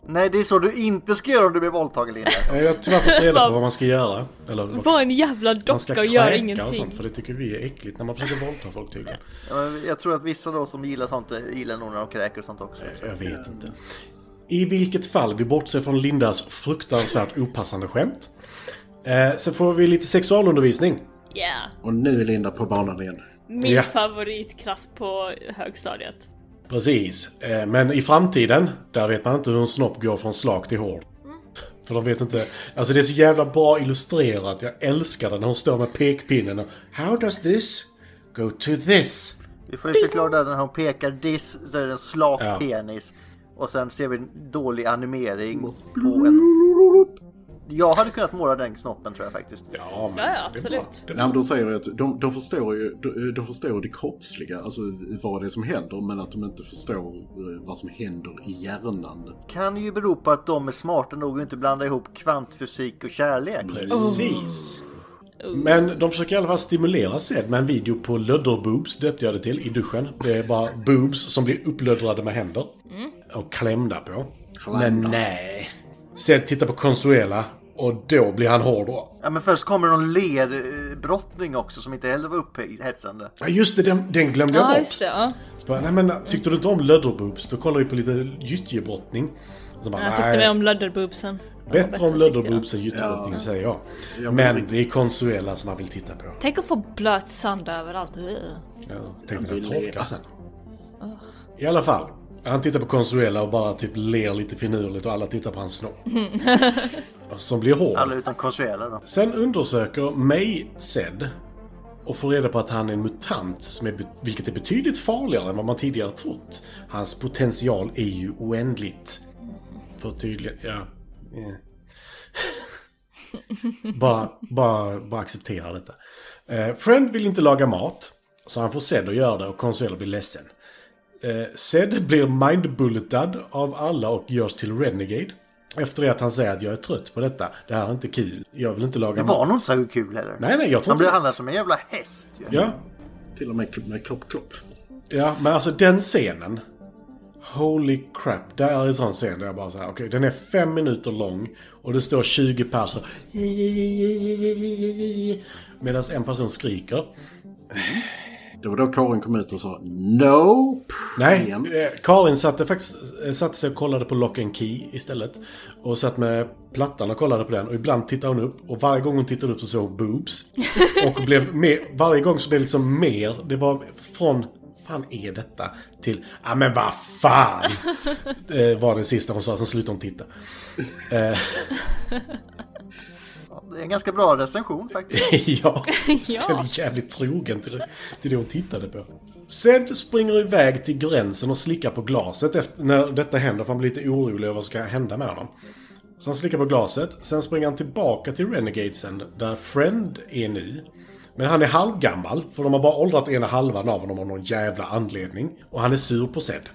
S2: Nej, det är så du inte ska göra om du blir våldtagen Linda.
S4: Eh, Jag har tyvärr fått reda på vad man ska göra. Eller vad
S1: Var en jävla
S4: man ska
S1: docka och gör
S4: kräka och
S1: ingenting.
S4: sånt, för det tycker vi är äckligt när man försöker våldta folk tydligen.
S2: Ja, men Jag tror att vissa då som gillar sånt eh, gillar nog när de kräker och sånt också.
S4: Jag vet inte. I vilket fall, vi bortser från Lindas fruktansvärt opassande skämt. Eh, sen får vi lite sexualundervisning.
S1: Yeah.
S5: och nu är Linda på banan igen.
S1: Min
S4: Ja.
S1: favoritklass på högstadiet.
S4: Precis. Eh, Men i framtiden, där vet man inte hur en snopp går från slak till hård. För de vet inte. Alltså det är så jävla bra illustrerat. Jag älskar det när hon står med pekpinnen och How does this go to this?
S2: Vi får ju förklara där när hon pekar diss så är det en slak
S4: Ja.
S2: penis. Och sen ser vi en dålig
S4: Mm.
S2: animering på en... Jag hade kunnat måla den snoppen tror jag faktiskt.
S4: Ja, men
S1: Ja, ja,
S4: det är bra.
S1: absolut.
S5: Nej, men de säger ju att de, de förstår ju de, de förstår det kroppsliga, alltså vad det är som händer, men att de inte förstår eh, vad som händer i hjärnan.
S2: Kan ju bero på att de är smarta nog att inte blanda ihop kvantfysik och kärlek.
S4: Precis. Men de försöker i alla fall stimulera Zed med en video på lödderboobs, döpte jag det till, i duschen. Det är bara boobs som blir upplöddrade med händer. Och klämda på. Men nej. Zed tittar på Consuela Och då blir han hård då.
S2: Ja men först kommer någon lerdrottning också som inte heller var upphetsande.
S4: Ja just det, den, den glömde jag
S1: Ja,
S4: bort.
S1: just det. Ja.
S4: Så bara, nej men tyckte du inte om lödderboobs? Då kollar vi på lite gyttjebrottning. Så bara,
S1: Jag tyckte mer om lödderboobsen. Det var
S4: Bättre om
S1: tyckte jag.
S4: lödderboobs än gyttjebrottning säger jag.
S5: Ja, men
S4: men
S5: riktigt.
S4: det är Consuela som man vill titta på.
S1: Tänk att få blöt sand överallt. Ugh.
S4: Ja, tänkte den
S5: vill
S4: torka
S5: leva.
S4: sen. I alla fall. Han tittar på Consuela och bara typ ler lite finurligt och alla tittar på hans snopp. som blir hård.
S2: Alla utom Consuela då.
S4: Sen undersöker May Zed och får reda på att han är en mutant, som är, vilket är betydligt farligare än vad man tidigare trott. Hans potential är ju oändligt. För tydligen, ja. eh. bara, bara, bara acceptera detta. Eh, Friend vill inte laga mat, så han får Zed att göra det och Consuelo blir ledsen. Eh, Zed blir mindbulletad av alla och görs till Renegade. Efter det att han säger att jag är trött på detta. Det här är inte kul. Jag vill inte laga
S2: Det
S4: mat.
S2: var nog inte så kul heller.
S4: Nej, nej, jag tror
S2: Han
S4: inte...
S2: blev handlad som en jävla häst ju.
S4: Ja,
S5: Till och med med klopp, klopp.
S4: ja, men alltså den scenen. Holy crap, där är en sån scen där jag bara så här, okej, den är fem minuter lång och det står 20 personer medan en person skriker.
S5: Det var då Karin kom ut och sa Nope!
S4: Nej,
S5: Igen.
S4: eh, Karin satte, faktiskt, eh, satte sig och kollade på Lock and Key istället. Och satt med plattan och kollade på den. Och ibland tittade hon upp. Och varje gång hon tittade upp så såg hon boobs. Och blev mer, varje gång så blev det liksom mer. Det var från fan är detta? Till ja men vad fan! Eh, var det sista hon sa, sen slutade hon titta.
S2: Ja, Det är en ganska bra recension faktiskt.
S4: ja,
S1: Ja.
S4: den är jävligt trogen till, det- till det hon tittade på. Zed springer iväg till gränsen och slickar på glaset efter, när detta händer för han blir lite orolig över vad som ska hända med honom. Så han slickar på glaset, sen springer han tillbaka till Renegadesen där Friend är nu. Men han är halvgammal, för de har bara åldrat ena halvan av honom av någon jävla anledning. Och han är sur på Zed.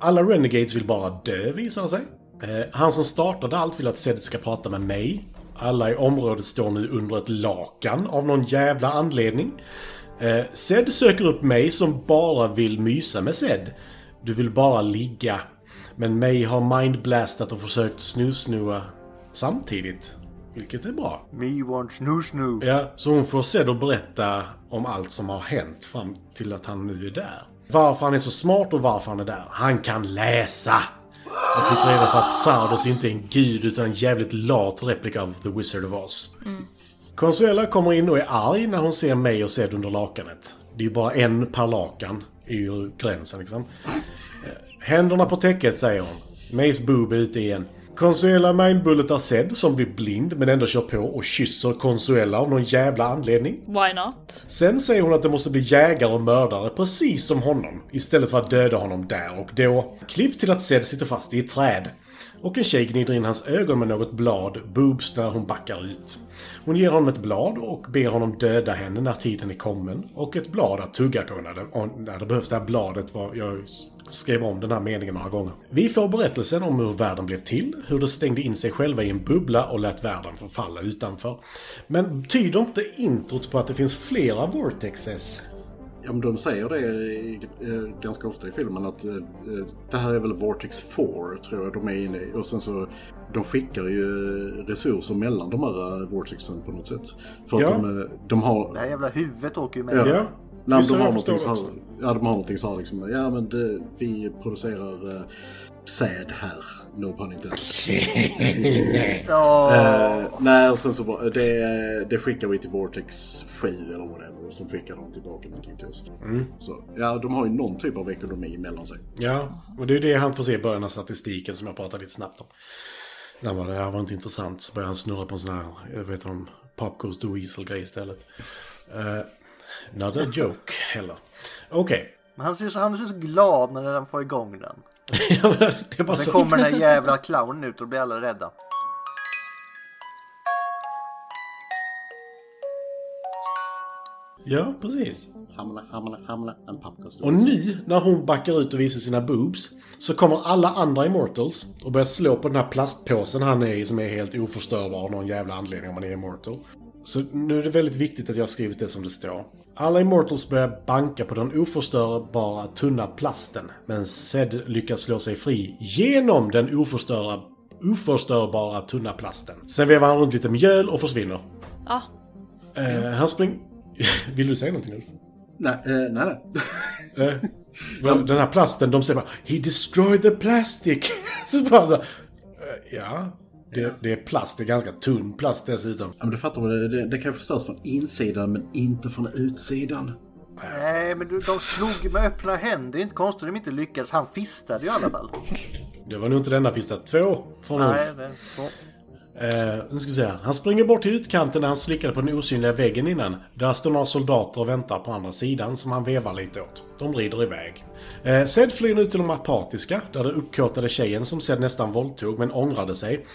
S4: Alla Renegades vill bara dö, visar det sig. Eh, han som startade allt vill att Zed ska prata med mig. Alla i området står nu under ett lakan av någon jävla anledning. Eh, Zed söker upp mig som bara vill mysa med Zed. Du vill bara ligga. Men mig har mindblastat och försökt snusnua samtidigt. Vilket är bra.
S2: Me wants new snoo.
S4: Ja, så hon får Zed att berätta om allt som har hänt fram till att han nu är där. Varför han är så smart och varför han är där. Han kan läsa! Jag fick reda på att Sardos inte är en gud utan en jävligt lat replika av The Wizard of Oz. Consuela kommer in och är arg när hon ser mig och Zed under lakanet. Det är ju bara en per lakan. Det är ju gränsen liksom. Händerna på täcket, säger hon. Mays boob är ute igen. Consuela Mindbullet är sedd, som blir blind men ändå kör på och kysser Consuela av någon jävla anledning.
S1: Why not?
S4: Sen säger hon att det måste bli jägare och mördare, precis som honom. Istället för att döda honom där och då. Klipp till att Zed sitter fast i ett träd. Och en tjej gnider in hans ögon med något blad, boobs, när hon backar ut. Hon ger honom ett blad och ber honom döda henne när tiden är kommen. Och ett blad att tugga på när det, om- när det behövs. Det här bladet var... Jag skrev om den här meningen några gånger. Vi får berättelsen om hur världen blev till, hur de stängde in sig själva i en bubbla och lät världen förfalla utanför. Men tyder inte introt på att det finns flera vortexes?
S5: Ja, men de säger det i, eh, ganska ofta i filmen att eh, eh, det här är väl Vortex 4 tror jag de är inne i. Och sen så de skickar ju resurser mellan de här eh, Vortexen på något sätt. För
S4: Ja.
S5: att de, eh, de har...
S2: Det här jävla huvudet åker ju med.
S5: Ja.
S4: Ja.
S5: Nej,
S4: Visst,
S5: men de har
S4: jag förstår
S5: någonting så här,
S4: också.
S5: ja, de har någonting så här liksom. Ja, men det, vi producerar eh, säd här. No pun intended.
S2: Ja,
S5: Eh, nej, och sen så bara, det, det skickar vi till Vortex 7 eller whatever. Och sen skickar de tillbaka någonting till oss. Så, ja, de har ju någon typ av ekonomi mellan sig.
S4: Ja, och det är det han får se i början av statistiken som jag pratade lite snabbt om. När han bara, det här var inte intressant, så började han snurra på en sån här, jag vet inte om Pop Goes the Weasel-grej istället. Uh, not a joke heller. Okej.
S2: men han ser, så, han ser så glad när den får igång den.
S4: Ja, men det är bara
S2: Sen
S4: så...
S2: kommer den här jävla clownen ut och då blir alla rädda.
S4: Ja, precis.
S5: Hamna, hamna, hamna, en pappkostym.
S4: Och nu, när hon backar ut och visar sina boobs, så kommer alla andra Immortals och börjar slå på den här plastpåsen han är i som är helt oförstörbar av någon jävla anledning om man är Immortal. Så nu är det väldigt viktigt att jag har skrivit det som det står. Alla Immortals börjar banka på den oförstörbara tunna plasten, men Zed lyckas slå sig fri genom den oförstörbara oförstörbara tunna plasten. Sen vevar han runt lite mjöl och försvinner.
S1: Ja,
S4: Eh, han springer... Vill du säga någonting Ulf?
S5: Nej, eh, nej, nej.
S4: Eh, vad- den här plasten, de säger bara “He destroyed the plastic”. så bara så, här, eh, ja, det, det är plast. Det är ganska tunn plast dessutom.
S5: Ja, men du fattar vad det, det, det kan förstöras från insidan men inte från utsidan.
S2: Nej, men du, de slog med öppna händer. Det är inte konstigt att de inte lyckas. Han fistade ju i alla fall.
S4: Mm. Det var nog inte denna fista. Två från Ulf.
S2: Nej, det, så.
S4: Eh, nu ska vi se här. Han springer bort till utkanten där han slickade på den osynliga väggen innan. Där står några soldater och väntar på andra sidan som han vevar lite åt. De rider iväg. Eh, Zed flyr nu till de apatiska, där den uppkåtade tjejen som Zed nästan våldtog men ångrade sig,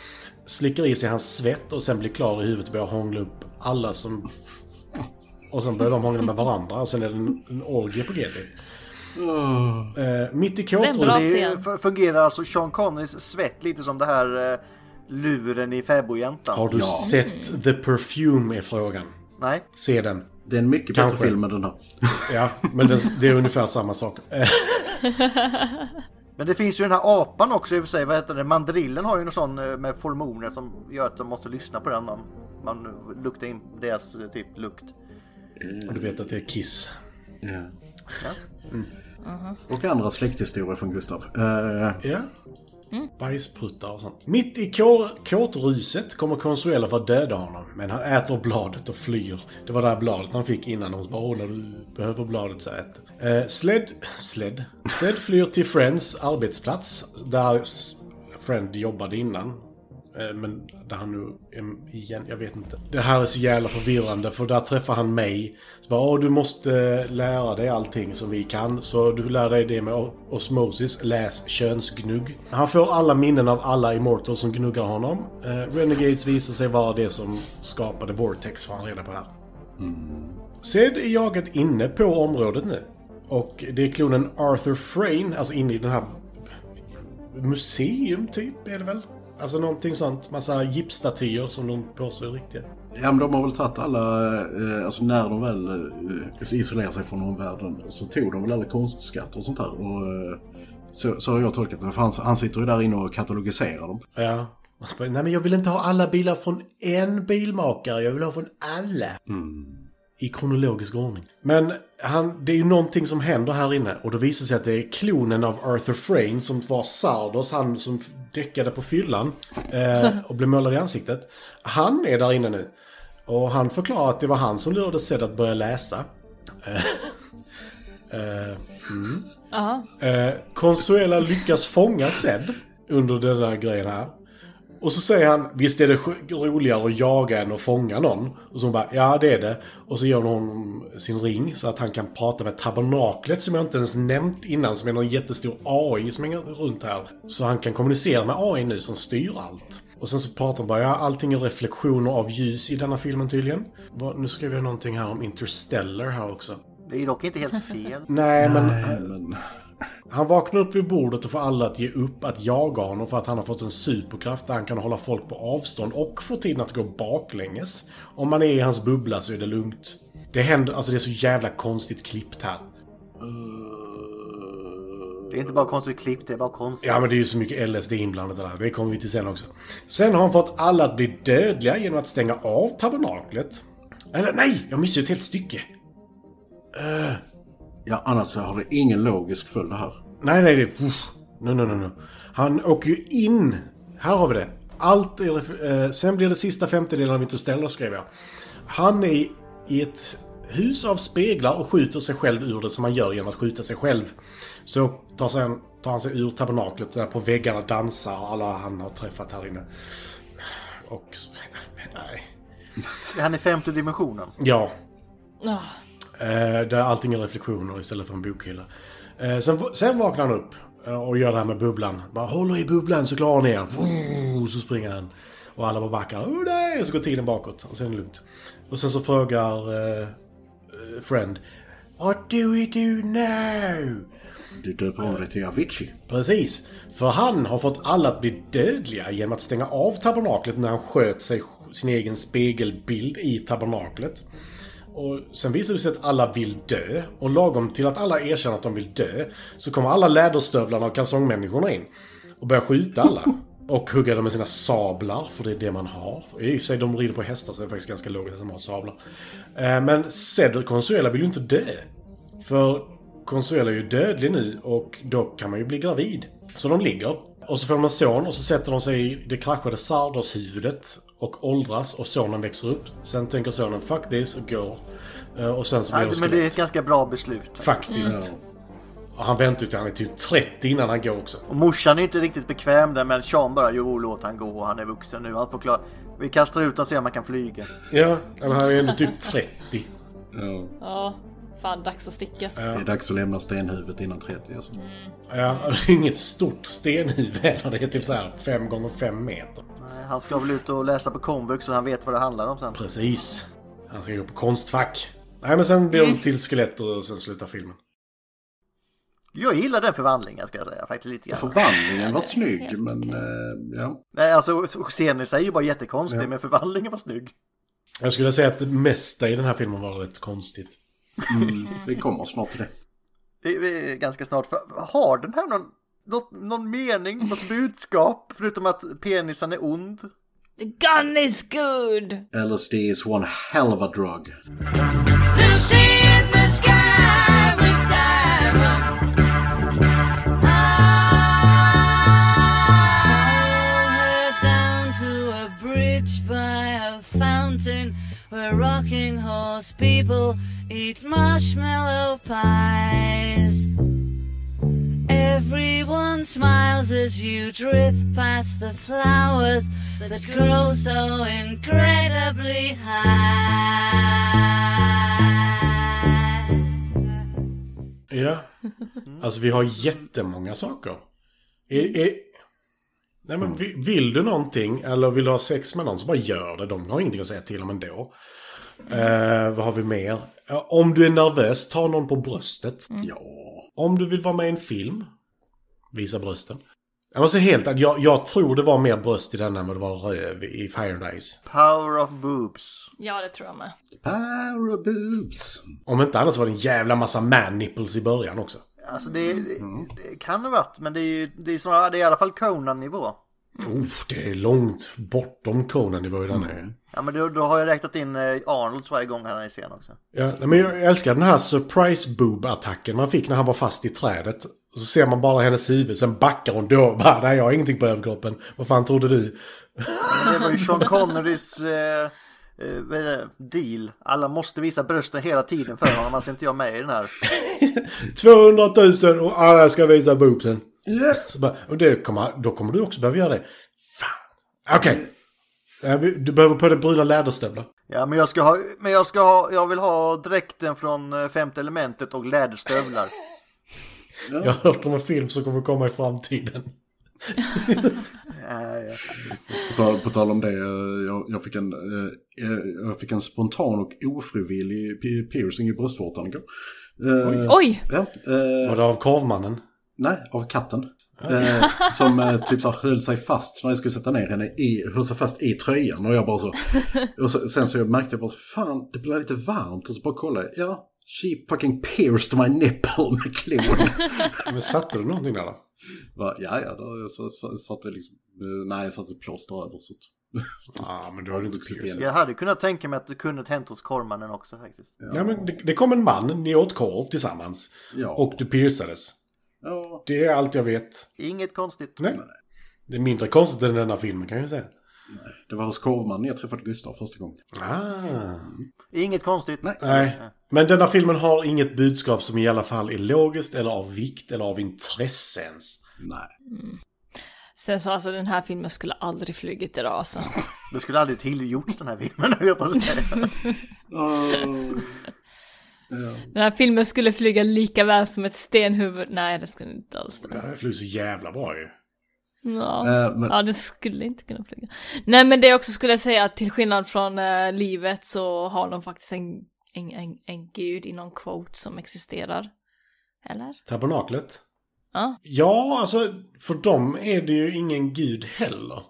S4: slickar i sig hans svett och sen blir klar i huvudet och börjar hångla upp alla som... Och sen börjar de hångla med varandra och sen är det en, en orgie på GT. Eh, mitt i
S1: Det är en bra
S4: kåtrutan...
S2: det är-
S1: scen.
S2: fu- fungerar alltså Sean Connerys svett lite som det här eh, luren i fäbodjäntan?
S4: Har du sett The Perfume är frågan.
S2: Nej.
S4: Se den.
S5: Det är en mycket
S4: Kanske.
S5: bättre film än den här.
S4: Ja, men det, det är ungefär samma sak. Eh,
S2: Men det finns ju den här apan också i och för sig. Vad heter det? Mandrillen har ju någon sån eh, med formoner som gör att de måste lyssna på den. Man, man luktar in deras eh, typ lukt.
S4: och du vet att det är Kiss.
S5: Ja. Mm. Och andra släkthistorier från Gustav. Eh,
S4: Ja. Bajspruttar Mm. och sånt. Mitt i kår- kåtruset kommer Consuela för att döda honom. Men han äter bladet och flyr. Det var det här bladet han fick innan. Hon bara åh, när du behöver bladet så ät det." eh, Sled... Sled? Sled flyr till Friends arbetsplats. Där S- Friend jobbade innan. Eh, Men där han nu är igen, jag vet inte. Det här är så jävla förvirrande för där träffar han mig. Så bara, Åh, du måste eh, lära dig allting som vi kan. Så du lär dig det med o- osmosis, läs könsgnugg. Han får alla minnen av alla immortals som gnuggar honom. Eh, Renegades visar sig vara det som skapade Vortex, får han reda på här. Zed är jagad inne på området nu. Och det är klonen Arthur Frayne, alltså inne i den här museum typ är det väl? Alltså någonting sånt. Massa gipsstatyer som de påstår är riktiga.
S5: ja, men de har väl tagit alla, eh, alltså när de väl eh, isolerar sig från omvärlden så tog de väl alla konstskatter och sånt där. Och, eh, så, så har jag tolkat det. För han, han sitter ju där inne och katalogiserar dem.
S4: Ja. Och så bara, Nej men jag vill inte ha alla bilar från en bilmakare, jag vill ha från alla. I kronologisk ordning. Men han, det är ju någonting som händer här inne och då visar det sig att det är klonen av Arthur Frayne som var Sardos, han som f- däckade på fyllan eh, och blev målad i ansiktet. Han är där inne nu. Och han förklarar att det var han som lurade Zed att börja läsa. Eh, eh,
S1: aha.
S4: Eh, Consuela lyckas fånga Zed under den där grejen här. Och så säger han, visst är det sj- roligare att jaga än att fånga någon? Och så hon bara, ja det är det. Och så ger hon honom sin ring så att han kan prata med tabernaklet som jag inte ens nämnt innan, som är någon jättestor AI som hänger runt här. Så han kan kommunicera med AI nu som styr allt. Och sen så pratar hon bara, ja allting är reflektioner av ljus i denna filmen tydligen. Vad- Nu skrev jag någonting här om Interstellar här också.
S2: Det är dock inte helt fel.
S4: Nej, men
S5: Nej, men...
S4: han vaknar upp vid bordet och får alla att ge upp att jaga honom för att han har fått en superkraft där han kan hålla folk på avstånd och få tiden att gå baklänges. Om man är i hans bubbla så är det lugnt. Det händer, alltså det är så jävla konstigt klippt här. Eh,
S2: Det är inte bara konstigt klippt, det är bara konstigt.
S4: Ja men det är ju så mycket LSD inblandat där. Det kommer vi till sen också. Sen har han fått alla att bli dödliga genom att stänga av tabernaklet. Eller nej! Jag missade ju ett helt stycke.
S5: Ja, annars så har det ingen logisk följd det här.
S4: Nej, nej, det... Uff. No, no, no, no. Han åker ju in. Här har vi det. Allt är, eh, sen blir det sista femtedelen av Interstellar, skrev jag. Han är i ett hus av speglar och skjuter sig själv ur det som han gör genom att skjuta sig själv. Så tar, sen, tar han sig ur tabernaklet där på väggarna dansar alla han har träffat här inne. Och... Nej.
S2: Han är femte dimensionen.
S4: Ja,
S1: Ah,
S4: Eh, där allting är reflektioner istället för en bokhylla. Eh, sen, sen vaknar han upp eh, och gör det här med bubblan. Bara håller i bubblan så klarar ni er. Vroom, Så springer han. Och alla bara backar. Oh, nej! Och så går tiden bakåt och sen är det lugnt. Och sen så frågar eh, eh, Friend. What do we do now?
S5: Du döper om dig till Avicii.
S4: Precis. För han har fått alla att bli dödliga genom att stänga av tabernaklet när han sköt sig, sin egen spegelbild i tabernaklet. Och sen visar det sig att alla vill dö. Och lagom till att alla erkänner att de vill dö så kommer alla läderstövlarna och kalsongmänniskorna in och börjar skjuta alla. Och hugga dem med sina sablar, för det är det man har. I och för sig, de rider på hästar så det är faktiskt ganska logiskt att de har sablar. Eh, Men Cedric Consuela vill ju inte dö. För Consuela är ju dödlig nu och då kan man ju bli gravid. Så de ligger. Och så får de en son och så sätter de sig i det kraschade Sardos-huvudet och åldras och sonen växer upp. Sen tänker sonen 'fuck this' och går. Eh, Och sen så blir
S2: Nej,
S4: de
S2: men det är Mm.
S4: skelett.
S2: ett ganska bra beslut.
S4: Faktiskt. Och han väntar ju till han är typ 30 innan han går också.
S2: Och morsan är inte riktigt bekväm där men Sean bara jo låt han gå, han är vuxen nu. Han får klara... Vi kastar ut honom och ser om han kan flyga.
S4: Ja, men han är ju ändå typ 30.
S5: Ja.
S1: Ja, fan dags att sticka.
S5: Det är dags att lämna stenhuvudet innan 30. Alltså.
S4: Ja, och det är inget stort stenhuvud heller. Det är typ så här 5 gånger 5 meter.
S2: Nej, han ska väl ut och läsa på komvux så han vet vad det handlar om sen.
S4: Precis. Han ska gå på konstfack. Nej, men sen
S2: Mm.
S4: blir de till skelett och sen slutar filmen.
S2: Jag gillar den förvandlingen ska jag säga faktiskt lite grann.
S5: Förvandlingen var snygg, men eh, ja.
S2: Nej, alltså scenen i sig är ju bara jättekonstig men förvandlingen var snygg.
S4: Jag skulle säga att det mesta i den här filmen var rätt konstigt.
S5: Mm. Vi kommer snart till det.
S2: Det är- det är ganska snart. För, har den här någon, något, någon mening, något budskap? Förutom att penisen är ond.
S1: The gun is good!
S5: LSD is one hell of a drug.
S6: Lucy in the sky with diamonds. Ah, I'll head down to a bridge by a fountain where rocking horse people eat marshmallow pies. Everyone smiles as you drift past the flowers that grow so incredibly high.
S4: Ja. Alltså, vi har jättemånga saker. Är, är... Nej, men vi- vill du någonting eller vill du ha sex med någon så bara gör det. De har ingenting att säga till om ändå. Eh, vad har vi mer? Ja, Om du är nervös, ta någon på bröstet.
S5: Ja.
S4: Om du vill vara med i en film, visa brösten. Jag måste helt att jag, jag tror det var mer bröst i denna än vad det var röv i Fire and Ice.
S2: Power of boobs.
S1: Ja, det tror jag med.
S5: Paraboobs.
S4: Om inte annars var det en jävla massa man nipples i början också.
S2: Alltså det, det, det kan det ha varit men det är ju det är snarare, det är i alla fall Conan-nivå.
S4: Oh, det är långt bortom Conan i början. Mm.
S2: Ja men då, då har jag räknat in eh, Arnolds varje gång han är i scen också.
S4: Ja, nej, men jag älskar den här surprise boob-attacken man fick när han var fast i trädet. Och så ser man bara hennes huvud, sen backar hon då. Bara, nej, jag har ingenting på överkroppen. Vad fan trodde du?
S2: Det var ju Sean Connerys eh, eh, vad är det? deal. Alla måste visa brösten hela tiden för honom annars är inte jag med i den här.
S4: 200 000 och alla ska visa boobsen.
S5: Yeah.
S4: Så bara, och det kommer, då kommer du också behöva göra det. Fan. Okej. Eh, vi- Du behöver på dig bruna läderstövlar.
S2: Ja men jag ska ha, men jag ska ha, jag vill ha dräkten från eh, femte elementet och läderstövlar.
S4: Jag har hört om en film som kommer komma i framtiden.
S2: Eh, ja.
S5: På tal, på tal om det, eh, jag, jag, fick en, eh, eh, jag fick en spontan och ofrivillig pi- piercing i bröstvårtan igår. Eh,
S1: Oj!
S5: Ja, eh,
S4: Var det av korvmannen?
S5: Nej, av katten. Eh, som eh, typ så här, höll sig fast när jag skulle sätta ner henne i, höll sig fast i tröjan och jag bara så. Och så, sen så märkte jag bara fan det blev lite varmt och så bara kollade jag. Ja, she fucking pierced my nipple med klon.
S4: Men satte du någonting där då?
S5: Va, ja, ja, då så, så, satte jag liksom, eh, nej jag satte ett plåster över så att-
S4: Ja, Ah, men du har ju inte
S5: Vuxit
S4: klippt igen.
S5: igen.
S2: Jag hade kunnat tänka mig att det kunde ha hänt hos Kormanen också faktiskt.
S4: Ja, men det, det kom en man, ni åt korv tillsammans.
S5: Ja.
S4: Och du piercades.
S5: ja.
S4: Det är allt jag vet.
S2: Inget konstigt.
S4: Nej. Det är mindre konstigt än den här filmen kan jag ju säga.
S5: Det var hos korvmannen jag träffade Gustav första gången.
S4: Ah.
S2: Inget konstigt. Eh,
S5: Nej.
S4: Nej. Men denna filmen har inget budskap som i alla fall är logiskt eller av vikt eller av intresse ens.
S5: Nej.
S1: Sen så alltså den här filmen skulle aldrig flugit idag alltså.
S2: Det skulle aldrig tillgjorts den här filmen höll jag på att säga.
S5: Åh.
S1: Den här filmen skulle flyga lika väl som ett stenhuvud. Nej, det skulle inte alls
S4: Det
S1: det.
S4: här flög så jävla bra ju.
S1: Ja.
S5: Eh, men-
S1: ja, det skulle inte kunna flyga. Nej, men det jag också skulle säga att till skillnad från eh, livet så har de faktiskt en, en, en, en gud inom quote som existerar. Eller?
S4: Tabernaklet?
S1: Ja.
S4: Ja, alltså för dem är det ju ingen gud heller.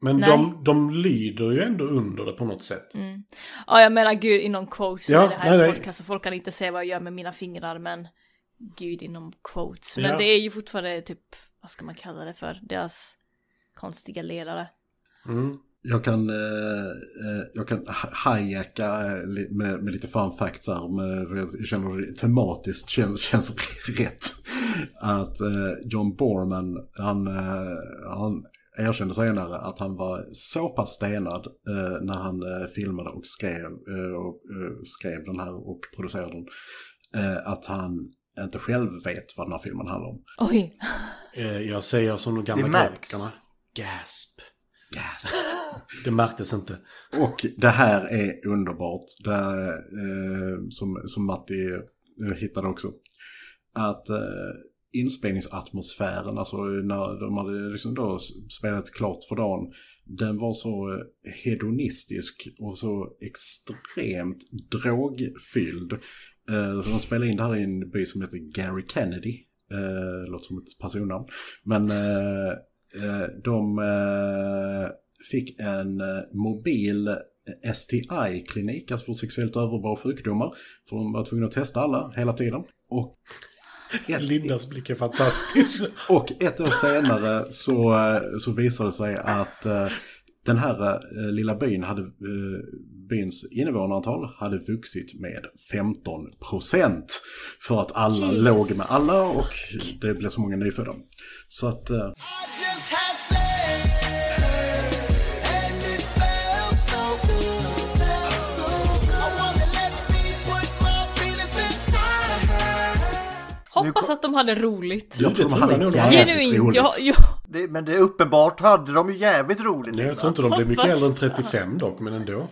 S4: Men
S1: Nej. Mm.
S4: de, de lyder ju ändå under det på något sätt.
S1: Ja, jag menar gud inom quotes.
S4: Ja,
S1: Ja, det här
S4: nej,
S1: är
S4: nej.
S1: en podcast så folk kan inte se vad jag gör med mina fingrar, men gud inom quotes. Men
S4: Ja.
S1: det är ju fortfarande typ, vad ska man kalla det för, deras konstiga ledare.
S4: Mm.
S5: Jag kan, eh, eh, jag kan ha- hajacka eh, li- med, med lite fun facts här, med, för jag känner det tematiskt känns, känns rätt. Att eh, John Borman, han, eh, han erkände senare att han var så pass stenad eh, när han eh, filmade och skrev, eh, och, eh, skrev den här och producerade den, eh, att han inte själv vet vad den här filmen handlar om.
S1: Oj,
S4: Eh, Jag säger som de gamla
S2: Det märks.
S4: grekerna. Gasp.
S5: Yes.
S4: Det märktes inte.
S5: Och det här är underbart, det, eh, som, som Matti eh, hittade också. Att eh, inspelningsatmosfären, alltså när de hade liksom då spelat klart för dagen, den var så eh, hedonistisk och så extremt drogfylld. Eh, så de spelade in det här i en by som heter Gary Kennedy. Eh, låter som ett personnamn. Men eh, eh, de eh, fick en eh, mobil STI-klinik, alltså för sexuellt överförbara sjukdomar. För de var tvungna att testa alla hela tiden. Och
S4: Lindas blick är fantastisk.
S5: och ett år senare så, eh, så visade det sig att eh, den här eh, lilla byn hade, eh, byns invånarantal hade vuxit med 15 procent. För att alla
S1: Jesus.
S5: låg med alla och det blev så många nyfödda. Så att eh,
S1: hoppas att de hade roligt.
S5: jag tror de
S4: tror
S5: hade
S4: jag nog.
S5: jävligt
S1: Genuint,
S5: roligt.
S1: jag, jag,
S2: Det, men det är uppenbart hade de ju jävligt roligt
S4: Nej, jag
S2: innan.
S4: tror inte de blev mycket
S1: Hoppas.
S4: äldre än 35 dock, men ändå.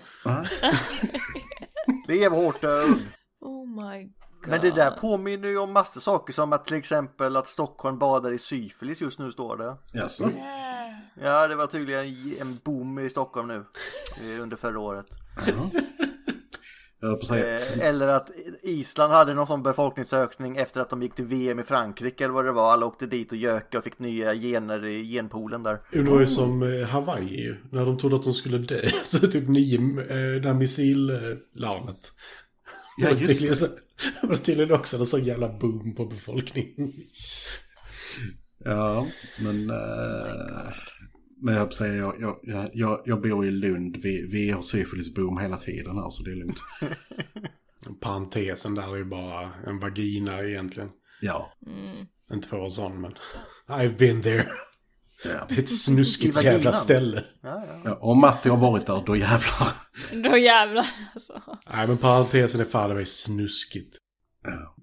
S2: Lev hårt och ung.
S1: oh my god.
S2: eh, Men det där påminner ju om massa saker som att till exempel att Stockholm badar i syfilis just nu står det.
S5: Jaså?
S2: Ja, det var tydligen en boom i Stockholm nu eh, under förra året.
S5: Jag höll på att säga.
S2: Eh, Eller att Island hade någon sån befolkningsökning efter att de gick till VM i Frankrike eller vad det var. Alla åkte dit och göka och fick nya gener i genpoolen där.
S4: Jo, Det var ju som eh, Hawaii ju, när de trodde att de skulle dö. Så typ nio, eh, det här missillarmet.
S5: Ja, just det.
S4: det. var tydligen också en sån jävla boom på befolkningen.
S5: Ja, men... eh, men jag höll på att säga, jag, jag- jag, jag, jag bor i Lund. Vi, vi har syfilisboom hela tiden här, så det är lugnt.
S4: Parentesen där är ju bara en vagina egentligen.
S5: Ja.
S4: Inte för att vara sån, men... I've been there.
S5: ja.
S4: Det är ett
S2: I
S4: snuskigt
S2: vaginan.
S4: jävla ställe.
S2: Ja, ja.
S5: Ja, Om Matti har varit där, då jävlar.
S1: Då jävlar alltså.
S4: Nej, men parentesen är fan, det var ju snuskigt.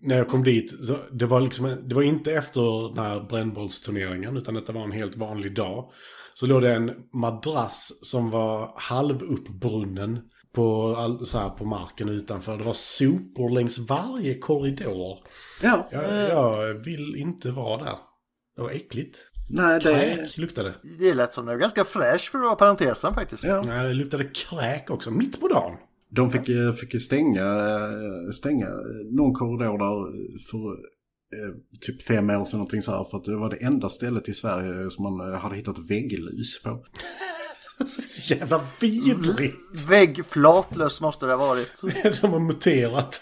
S4: När jag kom dit, så det, var liksom, en- det var inte efter den här brännbollsturneringen, utan detta var en helt vanlig dag. Så låg det en madrass som var halvuppbrunnen på, all- så här, på marken utanför. Det var sopor längs varje korridor.
S5: Ja.
S4: Jag, jag vill inte vara där. Det var äckligt.
S5: Nej, det är...
S4: Kräk luktade det.
S2: Det lät som det var ganska fräsch för att vara parentesen faktiskt.
S5: Ja.
S4: Nej, det luktade kräk också, mitt på dagen.
S5: De fick, eh, fick ju stänga, eh, stänga någon korridor där för eh, typ fem år sedan någonting så här. För att det var det enda stället i Sverige som man eh, hade hittat vägglus på.
S4: Så jävla vidrigt.
S2: Väggflatlös måste det ha varit.
S4: De har muterat.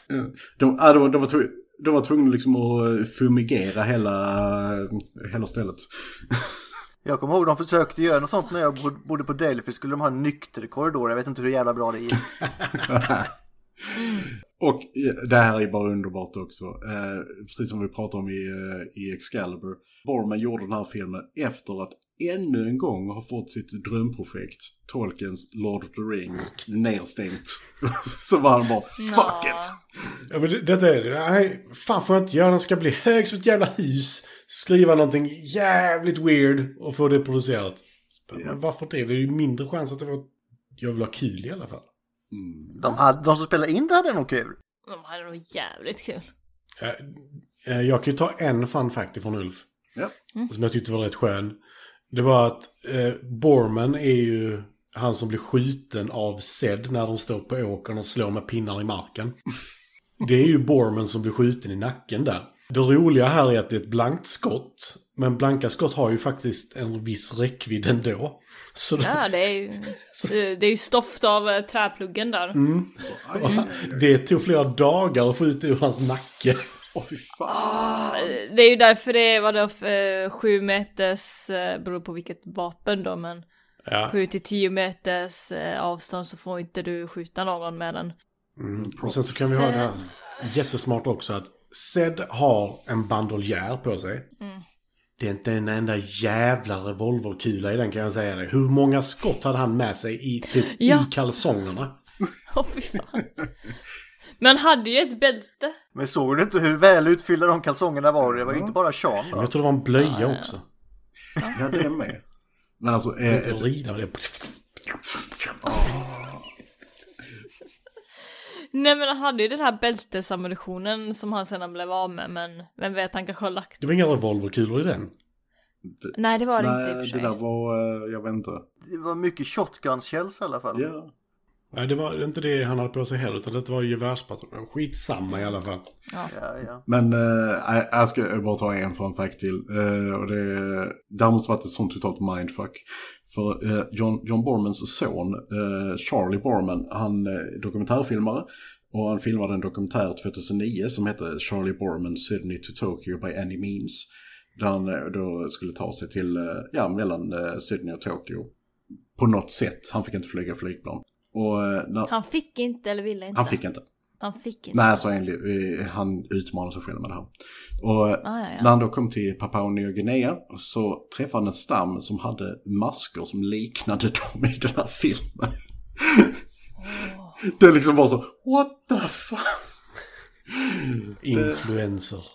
S5: De, ah, de, de, var, tv- de var tvungna liksom att eh, fumigera hela, eh, hela stället.
S2: Jag kommer ihåg de försökte göra något sånt när jag bod- bodde på Delphi. Skulle de ha en nykter korridor. Jag vet inte hur jävla bra det gick.
S5: Och eh, det här är bara underbart också. Eh, precis som vi pratade om i, eh, i Excalibur. Borman gjorde den här filmen efter att ännu en gång ha fått sitt drömprojekt, Tolkiens Lord of the Rings, nedstängt. Så var han bara fuck
S1: Nå.
S5: it!
S4: Ja, men det- detta är... Nej, fan får jag inte göra. Den ska bli hög som ett jävla hus. Skriva någonting jävligt weird och få det producerat. Men
S5: Ja.
S4: varför det? Det är ju mindre chans att det var... Jag vill ha kul i alla fall.
S2: De, hade, de som spelade in det hade nog kul.
S1: De hade nog jävligt kul.
S4: Eh, eh, Jag kan ju ta en fun fact ifrån Ulf.
S5: Ja.
S4: Som jag tyckte var rätt skön. Det var att eh, Borman är ju han som blir skjuten av Zed när de står på åkern och slår med pinnar i marken. Det är ju Borman som blir skjuten i nacken där. Det roliga här är att det är ett blankt skott. Men blanka skott har ju faktiskt en viss räckvidd ändå. Så det,
S1: Ja, det är ju, det är ju stoft av eh,
S5: Mm.
S1: träpluggen där.
S4: det tog flera dagar att få ut det ur hans nacke.
S5: Åh fy fan.
S1: Eh, Det är ju därför det var då eh, sju meters, eh, beror på vilket vapen då, men
S4: Ja.
S1: 7 till 10 meters eh, avstånd så får inte du skjuta någon med den.
S4: Mm. Och sen så kan vi ha det här jättesmart också att Zed har en bandoljär på sig. Det är inte en enda jävla revolverkula i den kan jag säga dig. Hur många skott hade han med sig i, typ,
S1: Ja.
S4: i kalsongerna?
S1: Åh fy fan. Men hade ju ett bälte.
S2: Men såg du inte hur väl utfyllda de kalsongerna var? Det var ju inte bara Sean.
S4: Men
S2: Då.
S4: jag tror det var en blöja också.
S5: Ja, det är med. Men alltså, eh,
S4: Ett
S5: ett,
S4: rida med det.
S1: Nej men han hade ju den här bältesammunitionen som han sedan blev av med men vem vet han kanske har lagt.
S4: Det var inga revolverkulor i den.
S1: Nej det var det inte i och för
S5: nej, det
S1: sig.
S5: där var, eh, jag vet inte.
S2: Det var mycket shotguns-shells i alla fall.
S5: Ja.
S4: Nej, det var inte det han hade på sig heller, utan det var gevärspatroner. Skitsamma i alla fall.
S2: Ja, ja.
S5: Men eh, jag- jag ska bara ta en fun fact till. Eh, och det, det här måste varit ett sånt totalt mindfuck. För eh, John, John Bormans son, eh, Charlie Borman, han är dokumentärfilmare. Och han filmade en dokumentär 2009 som hette Charlie Borman Sydney to Tokyo by any means. Där han eh, då skulle ta sig till, eh, ja, mellan eh, Sydney och Tokyo. På något sätt. Han fick inte flyga flygplan. Och eh, när,
S1: Han fick inte eller ville inte.
S5: han fick inte.
S1: Han fick inte.
S5: Nej, alltså enligt, eh, han utmanar sig själv med det här. Och eh,
S1: Ah, ja, ja.
S5: när han då kom till Papua Nya Guinea så träffade han en stam som hade masker som liknade dem i den här filmen. Det liksom var så, what the fuck?
S4: Influencer.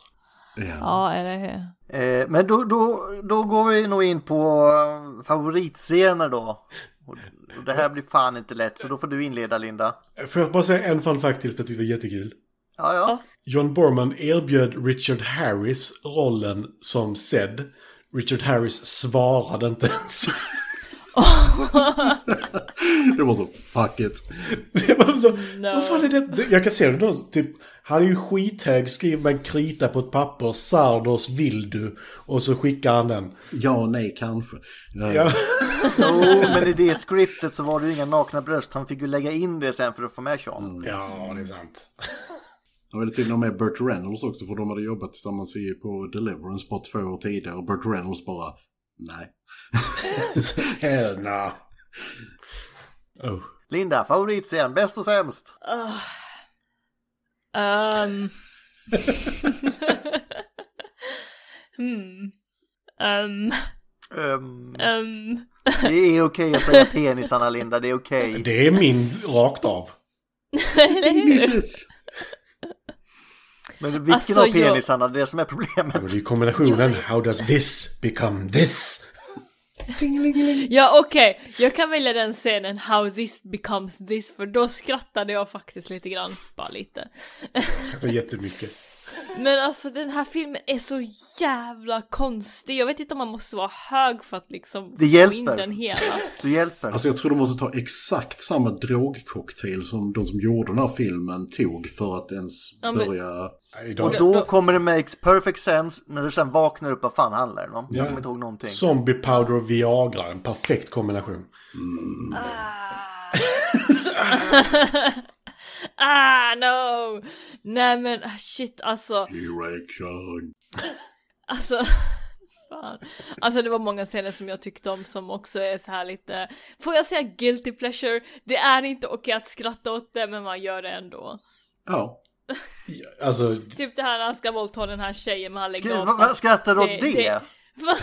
S1: Ja eller hur.
S2: Eh, men då, då, då går vi nog in på eh, favoritscener då. Och, och det här blir fan inte lätt, så då får du inleda Linda.
S4: Får jag bara säga en fun fact till som jag tyckte var jättekul?
S2: Ja, ja.
S4: John Borman erbjöd Richard Harris rollen som Zed. Richard Harris svarade inte ens.
S5: Det var så, fuck it.
S4: Det var så, Vad fan är det? Det- Jag kan se det då, typ, han är ju skithög, skriver med en krita på ett papper, Sardos vill du, och så skickar han den.
S5: Ja och nej kanske. Eh,
S4: Ja.
S2: Jo, men i det skriptet så var det ju inga nakna bröst. Han fick ju lägga in det sen för att få med Sean.
S4: Mm. Ja, det är sant.
S5: Han ville till och med Burt Reynolds också för de hade jobbat tillsammans i- på Deliverance bara två år tidigare och Burt Reynolds bara, nej.
S4: Hell no. Oh.
S2: Linda, favoritscen, bäst och sämst.
S1: Ehm. hmm. Ehm,
S2: Ehm,
S1: ehm.
S2: det är okej att säga penisarna Linda, det är okej.
S4: Det är min rakt av.
S1: Eller hur?
S5: Jesus!
S2: Men vilken
S1: Alltså,
S2: av
S1: jag-
S2: penisarna, det är det som är
S4: Ja,
S2: problemet.
S4: men det är kombinationen, how does this become this?
S1: Ja okej, jag kan välja den scenen How this becomes this för då skrattade jag faktiskt lite grann. Bara lite.
S4: Jag skrattar jättemycket.
S1: Men alltså den här filmen är så jävla konstig. Jag vet inte om man måste vara hög för att liksom få
S2: Det
S1: in
S2: hjälper.
S1: den hela.
S2: Du hjälper.
S5: Alltså jag tror de måste ta exakt samma drogcocktail som de som gjorde den här filmen tog för att ens
S1: Ja, men-
S5: börja...
S2: och
S4: Idag.
S2: då,
S1: då-
S2: kommer det makes perfect sense när du sen vaknar upp, vad fan handlar det om? Jag kommer inte ihåg någonting.
S4: Zombie powder och Viagra, en perfekt kombination.
S1: Ah no! Nej men ah, shit alltså.
S5: Erection.
S1: Alltså. Fan. Alltså det var många scener som jag tyckte om som också är så här lite, får jag säga guilty pleasure? Det är inte okej att skratta åt det men man gör det ändå.
S5: Ja.
S4: Alltså,
S1: Typ det här när han ska våldta den här tjejen men han lägger
S2: Ska,
S1: av.
S2: vad- vad skrattar du åt det?
S1: Det-
S2: det?
S1: det- Va?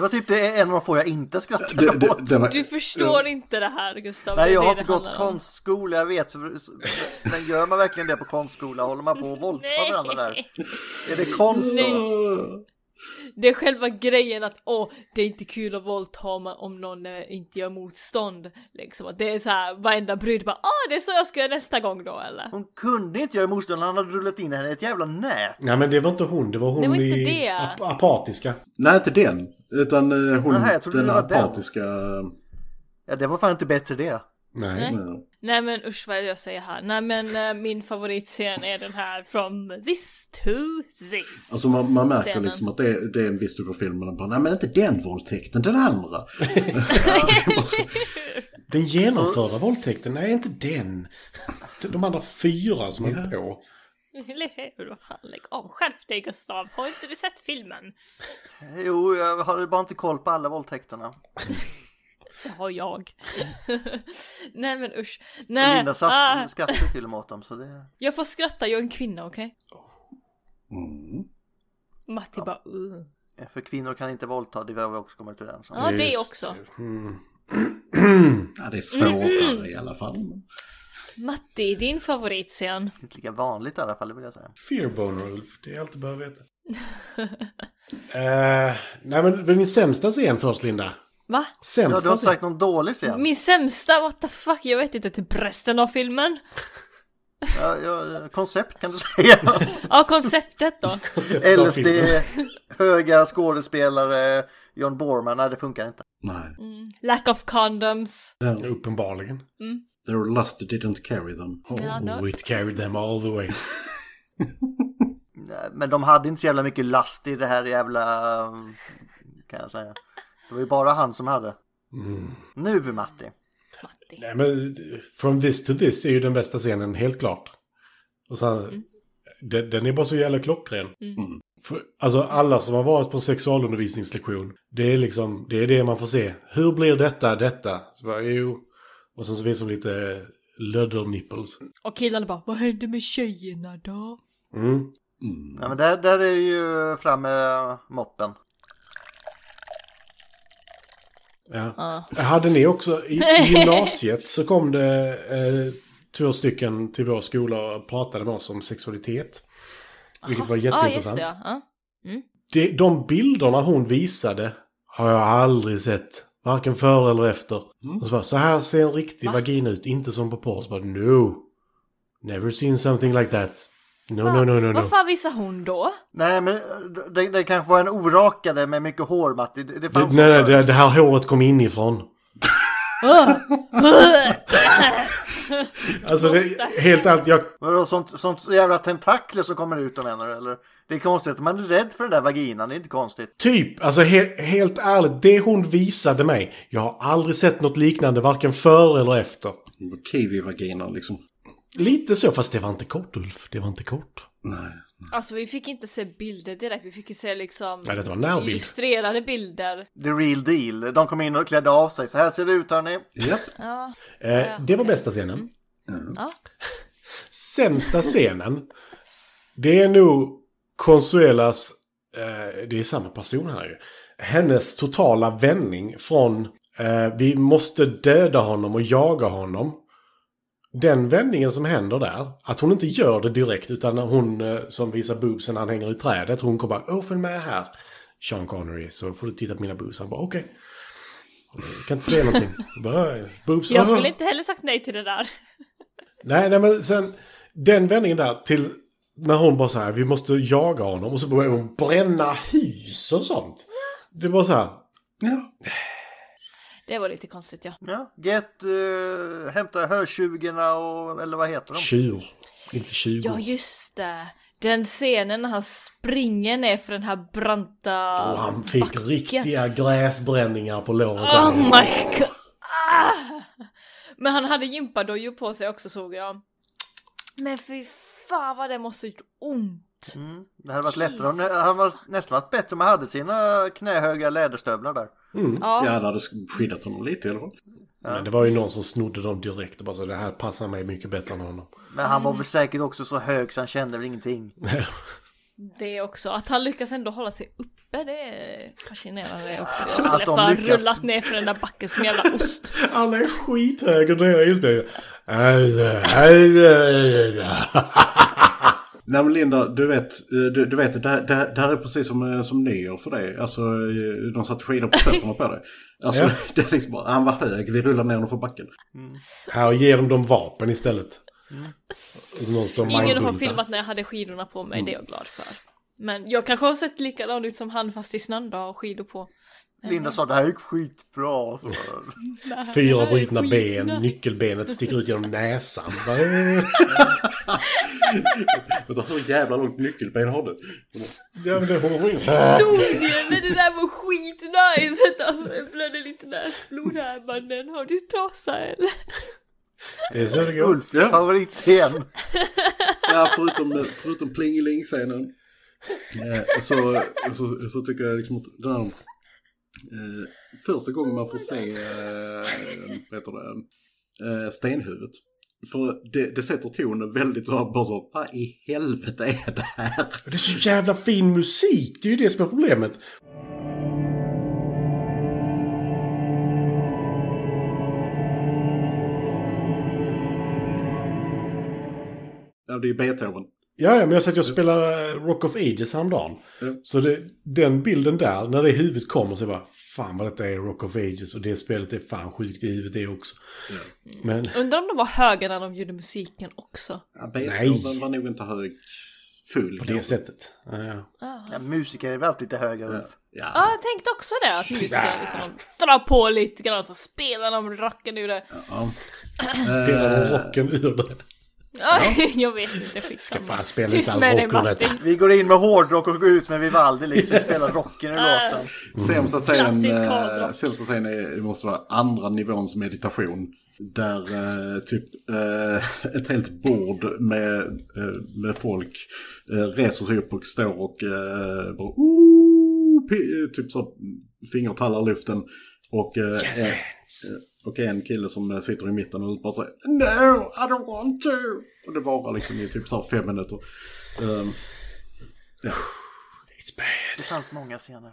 S2: var typ det en av de få jag inte skrattade
S5: Det,
S2: åt.
S5: det, det var...
S1: Du förstår inte det här Gustav. Det
S2: Nej,
S1: är
S2: jag
S1: det
S2: har
S1: det
S2: inte gått
S1: handlar om.
S2: konstskola, jag vet. för- Men gör man verkligen det på konstskola? Håller man på och våldtar varandra där? Är det konst då?
S1: Det är själva grejen att åh, det är inte kul att våldta ma- om någon eh, inte gör motstånd. Liksom att det är så här varenda brud bara åh, det är så jag ska göra nästa gång då eller?
S2: Hon kunde inte göra motstånd, han hade rullat in henne i ett jävla nät.
S4: nej men det var inte hon, det var hon
S1: Det var inte
S4: i
S1: det.
S4: Ap- apatiska.
S5: Nej, inte den. Utan eh, hon,
S2: Nähä, jag trodde
S5: den
S2: det var den.
S5: apatiska...
S2: Ja, det var fan inte bättre det.
S4: Nej.
S1: Nej.
S5: Ja.
S1: Nej men usch vad jag säger här. Nej men eh, min favoritscen är den här from this to this.
S5: Alltså man, man märker
S1: Scenen.
S5: liksom att det, är- det är en viss typ av film. Men bara, nej men inte den våldtäkten, den andra.
S4: Den genomförda våldtäkten, nej inte den. De andra fyra som höll på.
S1: Eller hur? Vad fan, Lägg av. Skärp dig Gustav. Har inte du sett filmen?
S2: Jo, jag har bara inte koll på alla våldtäkterna.
S1: Det har jag. Nej men usch. Nej.
S2: Linda satt,
S1: ah,
S2: skrattade till och med åt dem så det...
S1: jag får skratta, jag är en kvinna okej?
S5: Mm.
S1: Matti bara uh.
S2: För kvinnor kan inte våldta, det har vi också kommit överens om.
S1: Ja det
S4: Just Mm.
S1: också.
S4: det. Mm.
S5: Ja, det är svårare i alla fall.
S1: Matti, din favoritscen.
S2: Det är Inte lika vanligt i alla fall, det vill jag säga.
S4: Fearbone Ulf, det är allt du behöver veta. Eh, nej men din sämsta scen först Linda.
S1: Va?
S2: Ja,
S4: Sämsta
S2: du har inte
S4: scen.
S2: sagt någon dålig scen.
S1: Min sämsta, what the fuck, jag vet inte typ resten av filmen.
S2: Ja, ja, koncept kan du säga.
S1: Ja, konceptet då.
S4: Konceptet av
S2: LSD,
S4: filmen.
S2: höga skådespelare, John Borman, nej det funkar inte.
S5: Nej.
S1: Lack of condoms.
S4: Uppenbarligen.
S5: Their lust didn't carry them.
S1: Ja,
S4: Oh,
S1: no.
S4: it carried them all the way.
S2: Nej, Men de hade inte så jävla mycket last i det här jävla... mm, Kan jag säga. Det var ju bara han som hade.
S4: Mm.
S2: Nu Matti.
S1: Matti.
S4: Nej men From this to this är ju den bästa scenen, helt klart. Och sen,
S1: Mm.
S4: den, den är bara så jävla klockren. För, alltså alla som har varit på en sexualundervisningslektion, det är liksom, det är det man får se. Hur blir detta detta? Så bara, jo. Och sen så finns det lite löddernipples.
S1: Och killarna bara, vad hände med tjejerna då?
S4: Mm.
S2: Nej, men där, där är ju fram med moppen.
S4: Ja.
S1: Ja.
S4: Hade ni också, i, i gymnasiet så kom det eh, två stycken till vår skola och pratade med oss om sexualitet. Vilket var
S1: Ja, just
S4: jätteintressant.
S1: det. Ja. Ja.
S4: det, de bilderna hon visade har jag aldrig sett. Varken före eller efter.
S1: Mm.
S4: Och så, bara, så här ser en riktig vagina ut, inte som på porr. Så bara, no. Never seen something like that. No, no, no, no, no.
S1: Vad fan visade hon då?
S2: Nej men det, det kanske var en orakade med mycket hår Matti. Det, det
S4: Det,
S2: fanns
S4: nej, nej,
S2: förr.
S4: det, det här håret kom inifrån.
S1: Ah!
S4: alltså, det, helt allt jag...
S2: Vadå, sånt, sånt så jävla tentakler som kommer ut om en eller? Det är konstigt, man är rädd för den där vaginan, det är inte konstigt.
S4: Typ, alltså he, helt ärligt, det hon visade mig. Jag har aldrig sett något liknande, varken före eller efter.
S5: Kiwi-vagina liksom.
S4: Lite så, fast det var inte kort, Ulf. Det var inte kort.
S5: Nej.
S1: Alltså vi fick inte se bilder direkt, vi fick ju se liksom
S4: Nej, det var en närbild.
S1: illustrerade bilder.
S2: The real deal. De kom in och klädde av sig. Så här ser det ut hörni.
S5: Japp.
S1: Ja. Mm.
S4: Eh, det var bästa scenen.
S1: Ja.
S4: Sämsta scenen, det är nog Consuelas, eh, det är samma person här ju, hennes totala vändning från eh, vi måste döda honom och jaga honom. Den vändningen som händer där, att hon inte gör det direkt utan hon eh, som visar boobsen han hänger i trädet, hon kommer bara åh följ med här. Sean Connery, så får du titta på mina boobs. Han bara okej. Jag kan inte säga någonting. Bara, boobs, oh."
S1: Jag
S4: "Åh."
S1: skulle inte heller sagt nej till det där.
S4: Nej, nej men sen den vändningen där till när hon bara så här, vi måste jaga honom och så börjar hon bränna hus och sånt. Det var så här,
S5: Ja.
S1: Det var lite konstigt ja.
S2: Ja, get, uh, hämta hötjuvorna och eller vad heter de?
S4: tjur. Inte tjugo.
S1: Ja just det. Den scenen när han springer ner för den här branta...
S4: och han fick riktiga gräsbränningar på låret.
S1: Oh my god! Ah! Men han hade gympadojor på sig också såg jag. Men fy fan vad det måste ha gjort ont.
S2: Mm. Det hade varit lättare om det
S1: Jesus.
S2: hade varit, nästan varit bättre om man hade sina knähöga läderstövlar där.
S1: Ja.
S5: Ja, det hade skyddat honom lite i alla fall.
S4: Men det var ju någon som snodde dem direkt och bara så det här passar mig mycket bättre än honom.
S2: Men han var väl säkert också så hög så han kände väl ingenting.
S1: Det också. Att han lyckas ändå hålla sig uppe det är fascinerande också. Jag
S2: Att
S1: skulle
S2: de
S1: fan
S2: lyckas.
S1: rullat ner för den där backen som jävla ost.
S4: Alla är skithöga när jag inspelade.
S5: Nej men Linda, du vet, eh, du, du vet det, här, det, här, det här är precis som, eh, som nyår för dig. Alltså, eh, de satte skidor på fötterna på dig. Alltså,
S4: Ja.
S5: det är liksom bara, han var hög, vi rullar ner honom för backen.
S4: Här ger de dem vapen istället. Och så någon står och
S1: Mm. Ingen har
S4: mindbultar.
S1: filmat när jag hade skidorna på mig, det är jag glad för. Men jag kanske har sett likadan ut som han fast i snön då och skidor på.
S2: Linda sa det här gick skitbra. Så.
S4: Fyra
S1: är
S4: brutna ben,
S1: skitnice.
S4: nyckelbenet sticker ut genom näsan.
S5: Vänta, hur jävla långt nyckelben har du?
S4: ja, men det
S1: Personligen, men det där var alltså, skitnice! Vänta, jag blöder lite där. Blod här mannen, har du tasa eller?
S4: Det är så det går.
S2: Ulf
S5: Ja.
S2: favoritscen.
S5: Ja, förutom, eh, förutom plingeling-scenen. eh, Så, så, så tycker jag liksom att den här, eh, första gången man får se eh, vad heter det, eh, stenhuvudet. För det, det sätter tonen väldigt så här, bara så, vad i helvete är det här?
S4: Det är så jävla fin musik! Det är ju det som är problemet.
S5: Ja, det är Beethoven.
S4: Ja, ja, men jag satt ju och spelade eh, Rock of Ages häromdagen.
S5: Ja.
S4: Så det, den bilden där, när det i huvudet kommer så är jag bara Fan vad detta är Rock of Ages och det spelet är fan sjukt i huvudet det också. Men
S1: Undrar om de var höga när de gjorde musiken också.
S5: Ja, Beethoven
S4: Nej.
S5: var nog inte hög full.
S4: på det
S5: kanske.
S4: sättet. Ja, ja.
S2: Ja, musiker är väl alltid lite höga Ulf.
S1: Ja,
S5: Ja,
S1: jag tänkte också det, att musiker liksom drar på lite grann så spelar de rocken ur det.
S5: ja.
S4: Spelar
S5: Eh,
S4: rocken ur det.
S1: Ja. jag vet inte,
S4: Ska
S1: skitsamma.
S4: fan spela
S1: Tyst
S4: lite all
S1: med dig
S4: rock ur
S1: Martin.
S4: detta.
S2: Vi går in med hårdrock och går ut med Vivaldi liksom. Spelar rocken ur låten.
S5: Sämsta scenen,
S1: Klassisk
S5: eh,
S1: hardrock.
S5: sämsta scenen är, det måste vara andra nivåns meditation. Där eh, typ eh, ett helt bord med, eh, med folk eh, reser sig upp och står och eh, bara, "Ooh", pi- eh, typ så här, fingertallar i luften. Och, eh, en, eh, och en kille som eh, sitter i mitten och bara säger No, I don't want to! Och det varar liksom i typ så här fem minuter. Ehm,
S4: It's bad.
S2: Det fanns många scener.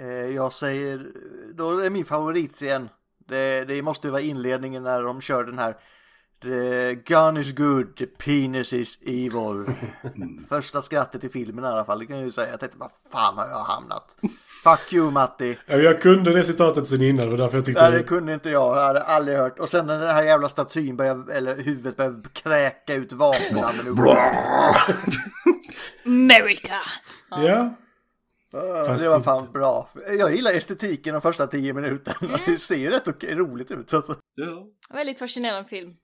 S2: Eh, Jag säger, då är min favoritscen. Det, det måste ju vara inledningen när de kör den här. The gun is good, the penis is evil. Första skrattet i filmen i alla fall, det kan jag ju säga. Jag tänkte, vad fan har jag hamnat? Fuck you Matti!
S4: Ja, Jag kunde det citatet sen innan, det var därför jag tyckte...
S2: Nej, det kunde inte jag, jag hade aldrig hört. Och sen när den här jävla statyn börjar, eller huvudet börjar kräka ut vapenammunition.
S1: America!
S4: Ja. Fast
S2: det var
S4: inte.
S2: fan bra. Jag gillar estetiken de första tio minuterna. Det ser rätt okej, roligt ut alltså.
S5: ja.
S1: Väldigt fascinerande film.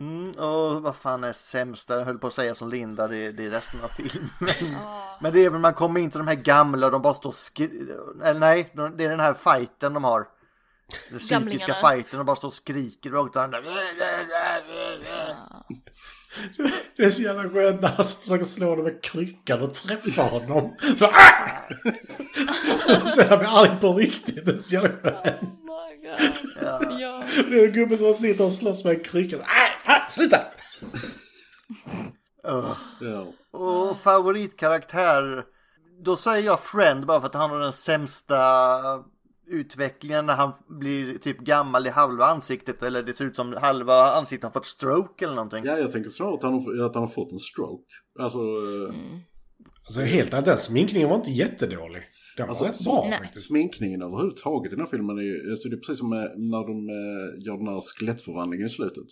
S2: Mm, och vad fan är sämsta, jag höll på att säga som Linda, det, det är resten av filmen. Men det är väl man kommer in till de här gamla och de bara står och skri- Eller nej, de- det är den här fighten de har. Den psykiska
S1: Gamlingarna.
S2: fighten, de bara står och skriker rakt varandra.
S4: Det är så jävla skönt när han försöker slå honom med kryckan och träffa honom. Så ah! Sen han blir arg på riktigt. Det är så jävla skönt.
S1: Oh my god. Ja.
S4: Det är en gubbe som sitter och slåss med en krycka. Så, Ah, fan, sluta!
S5: ja.
S2: Och favoritkaraktär, då säger jag Friend bara för att han har den sämsta utvecklingen när han blir typ gammal i halva ansiktet. Eller det ser ut som halva ansiktet har fått stroke eller någonting.
S5: Ja, jag tänker snarare att han, har- att han har fått en stroke. Alltså, eh,
S4: Alltså helt ärligt, den sminkningen var inte jättedålig. Den var
S5: Alltså,
S4: rätt bra
S1: nej.
S4: faktiskt.
S5: sminkningen överhuvudtaget i den här filmen är ju, alltså det är precis som eh, när de eh, gör den här skelettförvandlingen i slutet.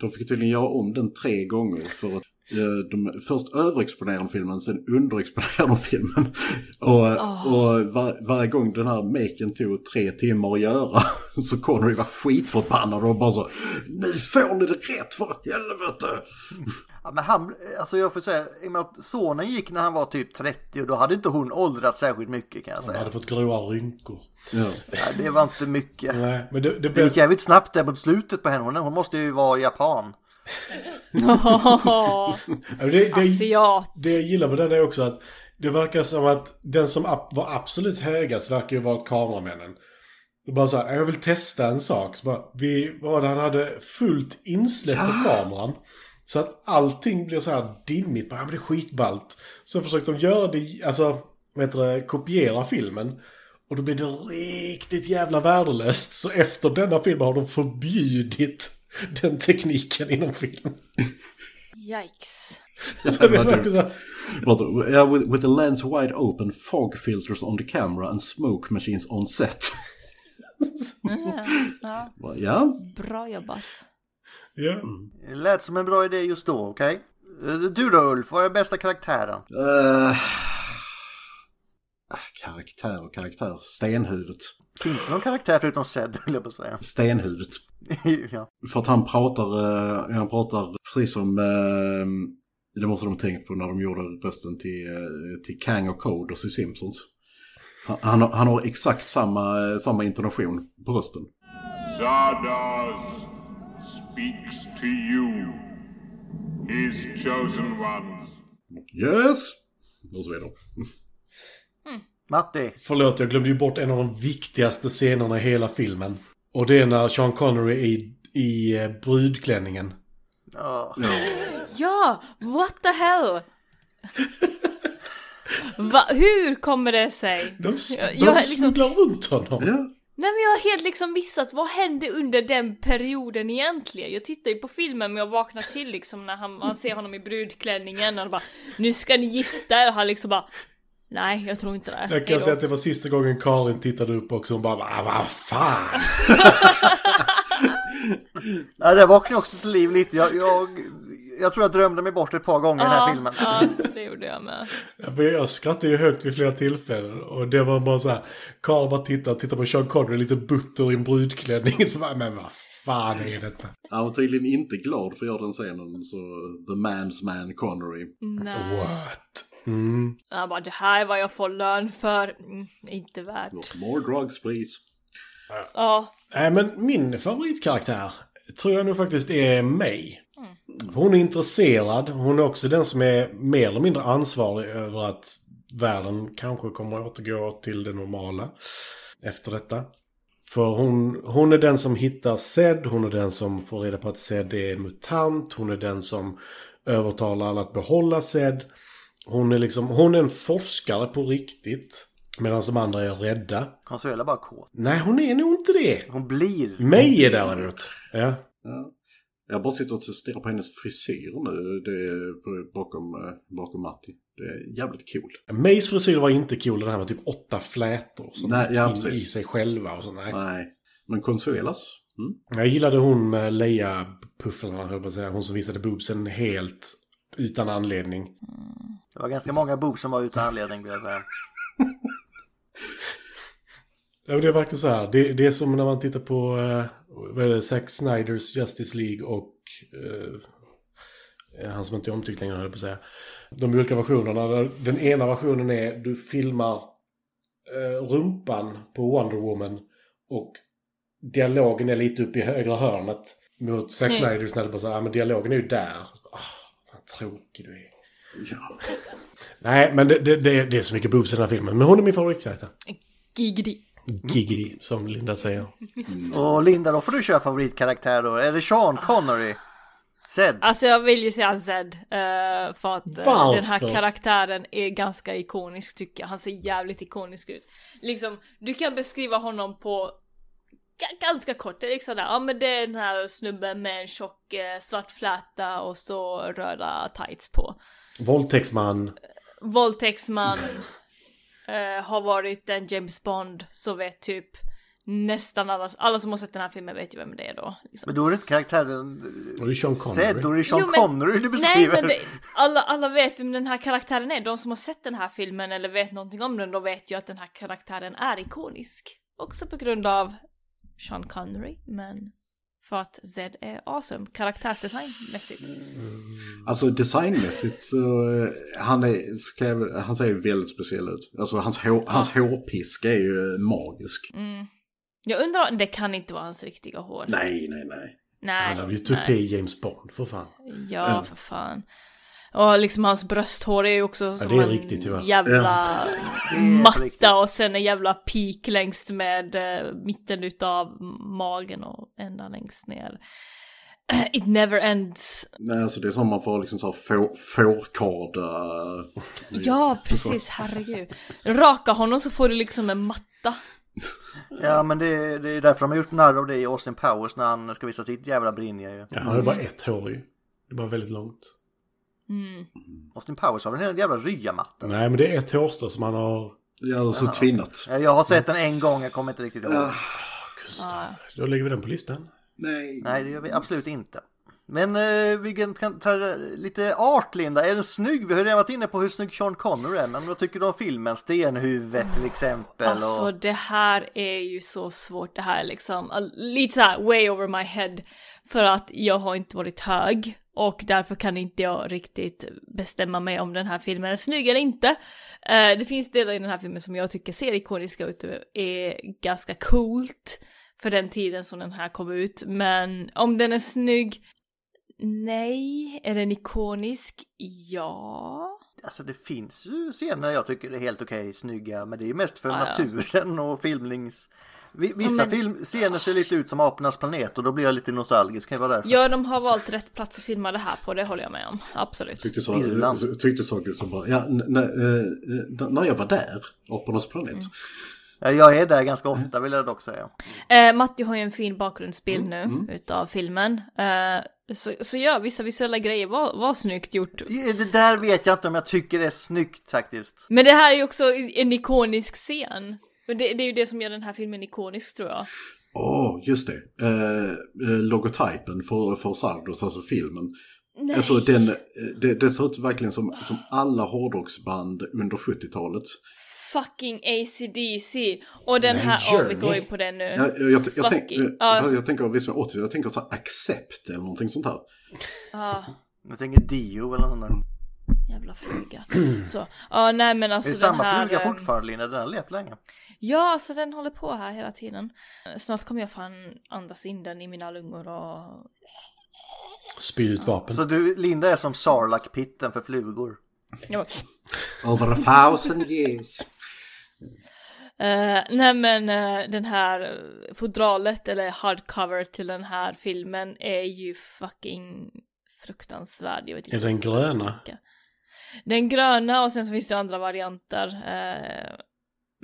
S5: De fick tydligen göra om den tre gånger för att eh, de först överexponerar de filmen, sen underexponerar de filmen. Och, eh, och var, varje gång den här maken tog tre timmar att göra så Connery var skitförbannad och bara så Nu får ni det rätt för helvete!
S2: Ja, men han, alltså jag får säga, i och med att sonen gick när han var typ 30 och då hade inte hon åldrats särskilt mycket kan jag
S4: Han
S2: säga.
S4: hade fått gråa rynkor.
S5: Ja.
S2: Ja, det var inte mycket.
S4: Nej, men det, det
S2: Det gick
S4: bästa...
S2: jävligt snabbt där mot slutet på henne, Hon- hon måste ju vara japan.
S1: Åh,
S4: Det, det,
S1: Asiat.
S4: det jag gillar med den är också att det verkar som att den som ab- var absolut högast verkar ju ha varit kameramännen. Det bara så här, jag vill testa en sak. Så bara, vi, vad var det, han hade fullt insläpp på kameran. Så att allting blev så här dimmigt, bara, ja, men det är skitballt. Så försökte de göra det, alltså, vad heter det, kopiera filmen. Och då blev det riktigt jävla värdelöst. Så efter denna film har de förbjudit den tekniken inom film.
S1: Yikes.
S4: Så det
S5: vad
S4: var
S5: dumt.
S4: så här,
S5: But, uh, with, with the lens wide open, fog filters on the camera and smoke machines on set.
S1: Ja,
S5: Bara, ja,
S1: bra jobbat.
S4: ja.
S2: Det lät som en bra idé just då, okej? Eh, Du då Ulf, vad är bästa karaktären?
S5: Eh, karaktär och karaktär. Stenhuvudet.
S2: Finns det någon karaktär förutom Zed, höll jag på att säga?
S5: Stenhuvudet.
S2: ja.
S5: För att han pratar, eh, han pratar precis som, eh, det måste de ha tänkt på när de gjorde rösten till, eh, till Kang och Coders i Simpsons. Han, han, har- han har exakt samma, eh, samma intonation på rösten.
S3: Sawdust speaks to you, his chosen ones.
S5: Yes! Och så vidare.
S2: Matti,
S4: Förlåt, jag glömde ju bort en av de viktigaste scenerna i hela filmen. Och det är när Sean Connery är i, i eh, brudklänningen.
S2: ja,
S1: Ja, what the hell? Va, hur kommer det sig?
S4: De, s-
S1: Jag-
S4: de
S1: jag är liksom-
S4: snubblar runt honom.
S5: Ja.
S1: Nej men jag har helt liksom missat, vad hände under den perioden egentligen? Jag tittar ju på filmen men jag vaknar till liksom när han, man ser honom i brudklänningen och bara Nu ska ni gifta er och han liksom bara Nej, jag tror inte det.
S4: Jag
S1: Hejdå."
S4: kan säga att det var sista gången Karin tittade upp också. Hon bara "Va, vad fan.
S2: ja det vaknade också till liv lite. Jag, jag, jag tror jag drömde mig bort ett par gånger i den här filmen.
S1: Ja, det gjorde jag med.
S4: Ja, för Jag skrattade ju högt vid flera tillfällen. Och det var bara så här. Karin bara tittar, tittar på Sean Connery lite butter i en brudklänning. Så bara, Men vad fan är detta?
S5: Han var tydligen inte glad för att göra den scenen, så the man's man Connery.
S1: Nej.
S4: What? Mm.
S1: Jag bara, det här är vad jag får lön för. Mm, inte värt.
S5: More drugs please.
S1: Ja,
S4: Nej, men min favoritkaraktär tror jag nog faktiskt är May. Hon är intresserad. Hon är också den som är mer eller mindre ansvarig över att världen kanske kommer att återgå till det normala efter detta. För hon, hon är den som hittar Zed, hon är den som får reda på att Zed är en mutant, hon är den som övertalar alla att behålla Zed. Hon är liksom, hon är en forskare på riktigt. Medan de andra är rädda.
S2: Consuela är bara kåt.
S4: Nej, hon är nog inte det.
S2: Hon blir.
S4: Mig är däremot. Ja.
S5: Ja. Jag bara sitter och stirrar på hennes frisyr nu, det är på- bakom, eh, bakom Matti. Det är jävligt cool.
S4: Mays frisyr var inte cool, den här med typ åtta flätor som
S5: Nej, ja,
S4: gick in i
S5: precis.
S4: sig själva och sånt. Nej.
S5: Nej. Men Consuelas? Mm.
S4: Jag gillade hon med Leia-pufflarna, höll jag på att säga. Hon som visade boobsen helt utan anledning.
S2: Det var ganska många boobs som var utan anledning vill jag säga.
S4: Ja, men Det är verkligen så här. Det, det är som när man tittar på eh, vad är det, Zack Snyders Justice League och eh, han som inte är omtyckt längre, höll jag på att säga. De olika versionerna. där Den ena versionen är du filmar eh, rumpan på Wonder Woman och dialogen är lite uppe i högra hörnet mot Zack
S1: Mm.
S4: Snyders när det bara så här, "Ah, men dialogen är ju där. Så, Ah, vad tråkig du är.
S5: Ja.
S4: Nej, men det, det, det, är- det är så mycket boobs i den här filmen. Men hon är min favoritkaraktär.
S1: giggity.
S4: Giggity, som Linda säger.
S2: Och Linda, då får du köra favoritkaraktär då. Är det Sean Connery? Zed?
S1: Alltså jag vill ju säga Zed, eh, för att eh,
S4: Varför?
S1: den här karaktären är ganska ikonisk tycker jag. Han ser jävligt ikonisk ut. Liksom, du kan beskriva honom på ga- ganska kort, det är liksom där, ja men det är den här snubben med en tjock eh, svart fläta och så röda tights på.
S4: Våldtäktsman.
S1: Våldtäktsman, eh, har varit en James Bond, så vet typ nästan alla, alla som har sett den här filmen vet ju vem det är då. Liksom.
S2: Men då är det inte karaktären
S4: Och det är Sean
S2: Zed, då är
S4: Connery.
S2: det Sean
S1: Jo, men-
S2: Connery du
S1: Nej
S2: beskriver.
S1: men det, alla, alla vet vem den här karaktären är. De som har sett den här filmen eller vet någonting om den, de vet ju att den här karaktären är ikonisk. Också på grund av Sean Connery, men för att Zed är awesome karaktärsdesignmässigt.
S2: Mm.
S5: Alltså designmässigt så, eh, han, är, ska jag, väl- han ser ju väldigt speciell ut. Alltså hans, hår, hans hårpiska är ju eh, magisk.
S1: Jag undrar, det kan inte vara hans riktiga hår.
S5: Nej, nej, nej.
S1: Nej.
S4: Han har ju tupi i James Bond, för fan.
S1: Ja, för fan. Och liksom hans brösthår är ju också som
S4: det är
S1: en
S4: riktigt, tyvärr.
S1: jävla
S2: är på riktigt.
S1: matta och sen en jävla pik längst med eh, mitten utav magen och ända längst ner. It never ends.
S5: Nej, alltså det är som man får liksom så här får, fårkarda. eh,
S1: Ja, precis, herregud. Raka honom så får du liksom en matta.
S2: Ja men det, det är därför de har gjort narr av det i Austin Powers när han ska visa sitt jävla brinja ju.
S4: Ja, han har bara ett hår ju. Det är bara väldigt långt.
S2: Austin Powers har väl en jävla ryamatta?
S4: Nej, men det är ett hårstrå som han har...
S5: Ja, så tvinnat.
S2: Ja, Eh, Jag har sett den en gång, jag kommer inte riktigt ihåg.
S4: Gustav. Då lägger vi den på listan.
S5: Nej.
S2: Nej det gör vi absolut inte. Men eh, vi kan kan ta lite art Linda, är den snygg? Vi har ju redan varit inne på hur snygg Sean Connery är, men vad tycker du om filmen? Stenhuvudet till exempel.
S1: Alltså
S2: och...
S1: det här är ju så svårt, det här är liksom uh, lite så här way over my head. För att jag har inte varit hög och därför kan inte jag riktigt bestämma mig om den här filmen är snygg eller inte. Eh, det finns delar i den här filmen som jag tycker ser ikoniska ut och är ganska coolt. för den tiden som den här kom ut. Men om den är snygg? Nej. Är den ikonisk? Ja.
S2: Alltså det finns ju scener jag tycker är helt okej, snygga, men det är ju mest för
S1: Ja, ja.
S2: naturen och filmnings... Vi- Vissa
S1: men-
S2: film... scener ser lite ut som Apornas planet och då blir jag lite nostalgisk, kan jag vara därför?
S1: Ja, de har valt rätt plats att filma det här på, det håller jag med om. Absolut.
S5: Tyckte så,
S2: Irland.
S5: tyckte så gud som bara, ja, n- n- eh, när jag var där, Apornas planet.
S2: Ja, Jag är där ganska ofta vill jag dock säga.
S1: Eh, Matti har ju en fin
S2: Mm,
S1: bakgrundsbild nu utav filmen. Eh, så, så ja, vissa visuella grejer var, var snyggt gjort.
S2: Det där vet jag inte om jag tycker är snyggt faktiskt.
S1: Men det här är ju också en ikonisk scen. Och det, det är ju det som gör den här filmen ikonisk tror jag.
S5: Åh, just det. Eh, eh, logotypen för, för Sardos, alltså filmen.
S1: Nej.
S5: Alltså den, eh, det, det ser ut verkligen som, som alla hårdrocksband under 70-talet.
S1: Eh, Fucking ACDC! Och den här, ja vi går in på den nu.
S5: Jag,
S2: eh.
S5: jag, jag, jag, tänk, eh,
S1: Fucking-
S5: jag,
S1: ja.
S5: jag tänker visst 80 jag tänker så här accept eller någonting sånt här.
S1: ja,
S2: Jag tänker Dio eller något sånt där.
S1: Alltså, jävla fluga. Så, ja nej men
S2: Det
S1: alltså
S2: är
S1: den
S2: samma
S1: här...
S2: fluga
S1: ehm,
S2: fortfarande Linda, den har levt länge.
S1: Ja, alltså den håller på här hela tiden. Snart kommer jag fan andas in den i mina lungor och...
S4: Spy ut vapen.
S2: Så du, Linda är som Sarlacc-pitten för flugor.
S1: Jag bara...
S5: Over a thousand years.
S1: Eh, nej men eh, den här fodralet eller hardcover till den här filmen är ju fucking fruktansvärd. Jag vet inte
S4: Är den
S1: ens vad jag ska
S4: gröna?
S1: tycka. Den gröna och sen så finns det andra varianter. eh,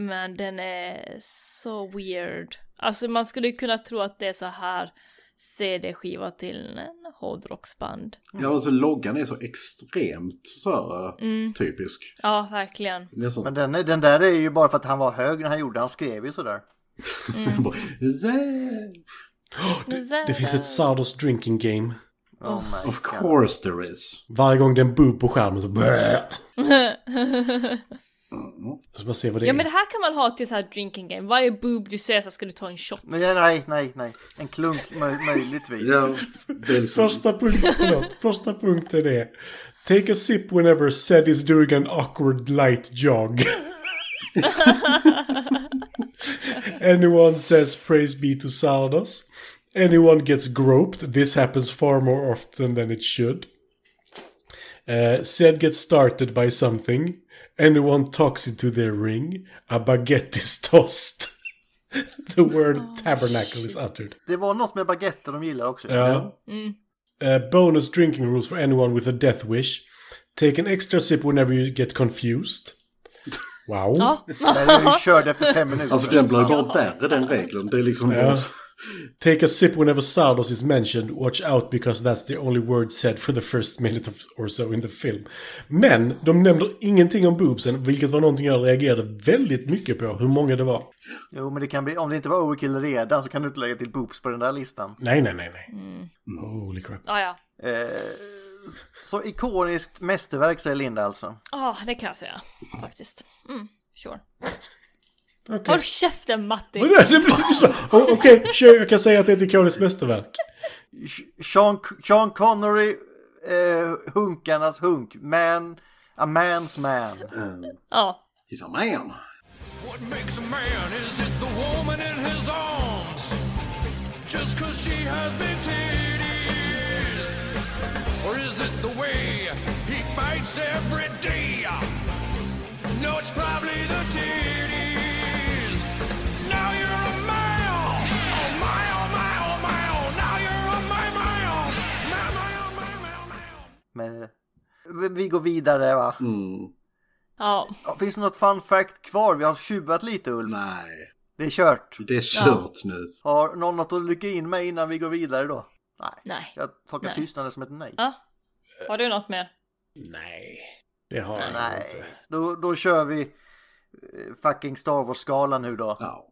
S1: men den är så weird. Alltså man skulle ju kunna tro att det är så här CD-skiva till en hårdrocksband.
S5: Ja, alltså loggan är så extremt så här, eh,
S1: Mm.
S5: typisk.
S1: Ja, verkligen.
S5: Nästan
S2: Men den, är- den där är ju bara för att han var hög när han gjorde, han skrev ju sådär.
S5: bara, yeah,
S1: Det,
S4: Det finns ett Sardos drinking game.
S2: Oh my
S5: of
S2: God.
S5: course there is.
S4: Varje gång det är en boob på skärmen så... Bleh. Så bara se vad det
S1: Ja
S4: är.
S1: men det här kan man ha till så här drinking game. Varje boob du ser så ska du ta en shot.
S2: Nej, nej, nej, nej. En klunk möj- möjligtvis.
S5: Ja, det är liksom-
S4: Första punkten, förlåt, första punkten är Take a sip whenever Sed is doing an awkward light jog. Anyone says praise be to Sardos. Anyone gets groped. This happens far more often than it should. Uh, Sed gets started by something. Anyone talks into their ring. A baguette is tossed. the word tabernacle is uttered.
S2: Det var något med baguetter de gillar också.
S4: Ja. Uh, bonus drinking rules for anyone with a death wish. Take an extra sip whenever you get confused. Wow.
S1: Ja.
S2: Den är ju körd efter fem minuter.
S5: Alltså den blir bara värre den regeln. Det är liksom...
S4: Ja. Take a sip whenever Sardos is mentioned. Watch out because that's the only word said for the first minute of, or so in the film. Men de nämner ingenting om boobsen, vilket var någonting jag reagerade väldigt mycket på, hur många det var.
S2: Jo, men det kan bli, om det inte var overkill redan så kan du inte lägga till boobs på den där listan.
S4: Nej, nej, nej, nej. Holy crap.
S1: Ah, ja.
S2: Eh, så ikoniskt mästerverk säger Linda alltså.
S1: Ja, det kan jag säga. Faktiskt. Mm, sure.
S4: Okej.
S1: Håll käften Matti!
S4: Vadå? Det blir så- Oh, Okej, kör. Jag kan säga att det är ett ikoniskt mästerverk.
S2: Sean, Sean Connery, eh, hunkarnas hunk, man, a man's man.
S1: Ja.
S5: He's a man.
S7: What makes a man? Is it the woman in his arms? Just cause she has big titties? Or is it the way he fights every day? No, it's probably the titties. Now you're a man! Oh my, oh my, oh my, oh. Now you're a my, my, oh. My, my, oh, my, my, oh, my, oh.
S2: Men, eh, vi- vi går vidare va?
S5: Mm.
S1: Ja.
S2: Ja, Finns det något fun fact kvar? Vi har tjuvat lite Ulf.
S5: Nej,
S2: Det är kört.
S5: det är kört nu.
S2: Har någon något att lycka in med innan vi går vidare då? Nej.
S1: Nej.
S2: Jag tolkar
S1: Nej.
S2: tystnaden som ett nej.
S1: Ja. Har du något mer?
S4: Nej, det har jag inte.
S2: Nej, då, då kör vi eh, fucking Star Wars-skalan nu då.
S5: Ja.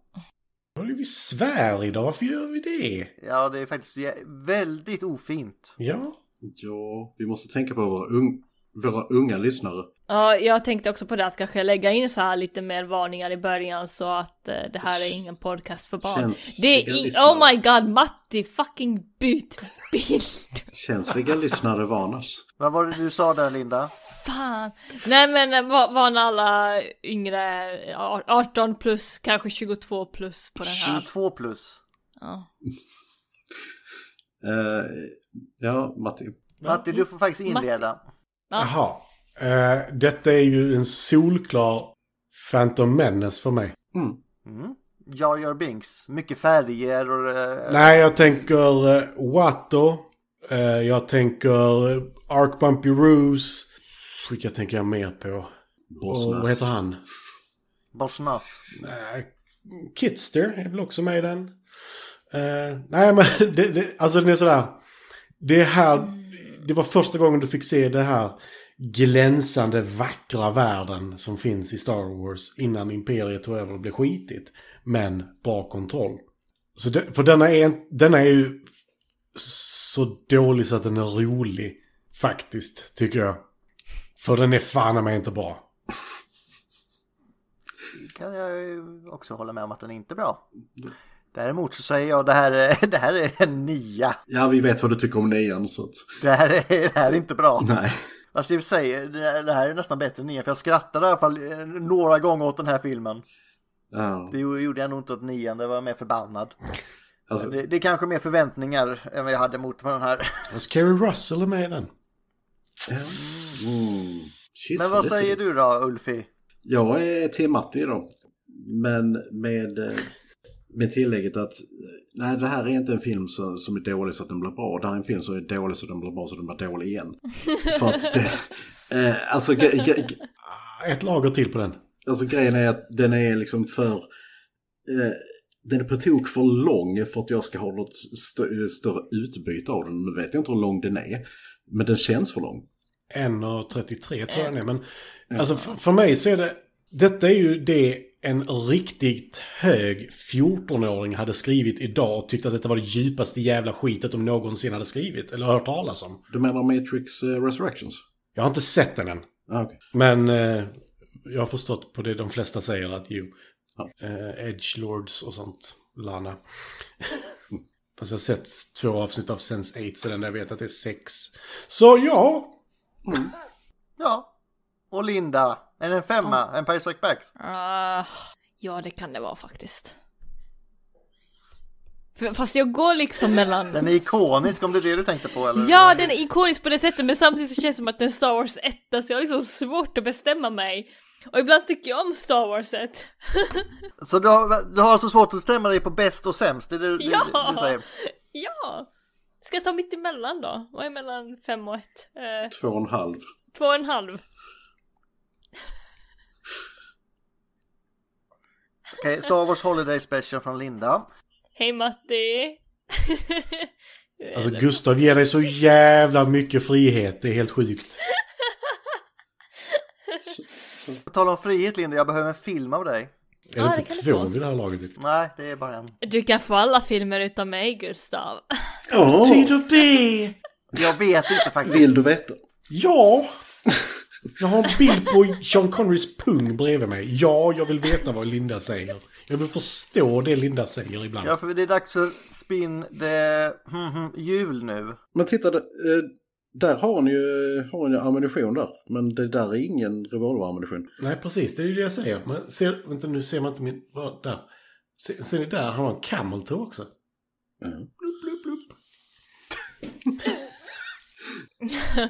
S4: Vad är vi svär idag? Varför gör vi det?
S2: Ja, det är faktiskt jä- väldigt ofint.
S4: Ja.
S5: ja, vi måste tänka på våra, un våra unga lyssnare.
S1: Ja, jag tänkte också på det att kanske lägga in så här lite mer varningar i början så att eh, det här är ingen podcast för barn.
S5: Känns
S1: det är in-
S5: legalistiskt.
S1: Oh my god, Matti! Fucking byt bild!
S5: Känsliga lyssnare varnas.
S2: Vad var det du sa där Linda?
S1: Fan. Nej men eh, va- varna alla yngre, eh, 18 plus, kanske 22 plus på den här.
S2: 22 plus.
S1: Ja.
S5: Eh, ja, Matti.
S2: Matti, du får faktiskt inleda.
S1: Ja.
S4: Jaha. Eh, detta är ju en solklar Phantom Menace för mig.
S2: Jar Jar Binks. Mycket färger och... eh,
S4: Nej, jag tänker eh, Watto. Eh, jag tänker eh, Ark Bumpy Ruse. Vilka tänker jag mer på? Och,
S5: Bossnäs.
S4: vad heter han?
S2: Borsnas.
S4: Eh, Kitster är väl också med i den. Eh, nej, men det, det, alltså den är sådär. Det här, det var första gången du fick se den här glänsande vackra världen som finns i Star Wars innan Imperiet tog över och blev skitigt. Men bra kontroll. Så det, för denna är, denna är ju så dålig så att den är rolig. Faktiskt, tycker jag. För den är fan mig inte bra.
S2: kan jag ju också hålla med om att den är inte är bra. Däremot så säger jag det här, är- det här är en nia.
S5: Ja, vi vet vad du tycker om nian så att...
S2: Det här är, det här är inte bra.
S5: Nej.
S2: Fast i och för sig, det det här är nästan bättre än nian. För jag skrattade i alla fall eh, några gånger åt den här filmen.
S5: Ja,
S2: Det gjorde jag nog inte åt nian, det var jag mer förbannad.
S5: alltså,
S2: Det, det är kanske mer förväntningar än vad jag hade mot den här.
S4: Fast Kerry Alltså, Russell är med i den.
S5: mm. Shit,
S2: Men vad
S5: det är
S2: säger
S5: fint.
S2: du då, Ulfi?
S5: Jag är till Matti då. Men med, eh, med tillägget att eh, nej, det här är inte en film som, som är dålig så att den blir bra. Det här är en film som är dålig så att den blir bra så att den blir dålig igen. För att det, eh, alltså, gre- gre- gre-
S4: Ah, Ett lager till på den.
S5: alltså grejen är att den är liksom för... Eh, den är på tok för lång för att jag ska ha något stö- större utbyte av den. Nu vet jag inte hur lång den är. Men den känns för lång.
S4: 1,33 tror jag den är. Men alltså för, för mig så är det... Detta är ju det en riktigt hög 14-åring hade skrivit idag och tyckte att detta var det djupaste jävla skitet de någonsin hade skrivit. Eller hört talas om.
S5: Du menar Matrix eh, Resurrections?
S4: Jag har inte sett den än.
S5: Ah, okej.
S4: Men eh, jag har förstått på det de flesta säger att ju...
S5: Ja.
S4: Eh, Edge Lords och sånt. Lana. Fast jag har sett två avsnitt av Sense 8 så den där vet att det är sex. Så ja,
S2: Ja. Och Linda, är det en femma? En Empire Strike Backs?
S1: Ah, ja, det kan det vara faktiskt. F- Fast jag går liksom mellan...
S2: Den är ikonisk om det är det du tänkte på eller?
S1: Ja, den är ikonisk på det sättet men samtidigt så känns det som att den är Star Wars 1 så jag har liksom svårt att bestämma mig. Och ibland tycker jag om Star Wars 1.
S2: Så du har, du har så svårt att bestämma dig på bäst och sämst? Det är det, det,
S1: Ja!
S2: det, du säger?
S1: Ja! Ska jag ta mitt emellan då? Vad är mellan 5 och 1? Eh,
S5: Två och en halv.
S1: två och en halv.
S2: Okej, Star Wars Holiday Special från Linda.
S1: Hej Matti!
S4: Alltså Gustav ger dig så jävla mycket frihet, det är helt sjukt.
S2: På tal om frihet Linda, jag behöver en film av dig.
S4: Är
S1: Ja,
S4: det
S1: det
S4: inte
S1: kan
S4: två
S1: det vara.
S4: vid det här laget?
S2: Nej, det är bara en.
S1: Du kan få alla filmer utan mig Gustav.
S5: Oh.
S4: Tyder det?
S2: Jag vet inte faktiskt.
S5: Vill du veta?
S4: Ja! Jag har en bild på Sean Connerys pung bredvid mig. Ja, jag vill veta vad Linda säger. Jag vill förstå det Linda säger ibland.
S2: Ja, för det är dags för spinn det hmm, hmm, jul nu.
S5: Men titta, det- eh, där har hon ju, har hon ju ammunition där. Men det där är ingen revolverammunition.
S4: Nej, precis. Det är ju det jag säger. Men ser, vänta, nu ser man inte min... vad- Där. Ser, ser ni där? Han har en camel toe också. Blup, blup, blup.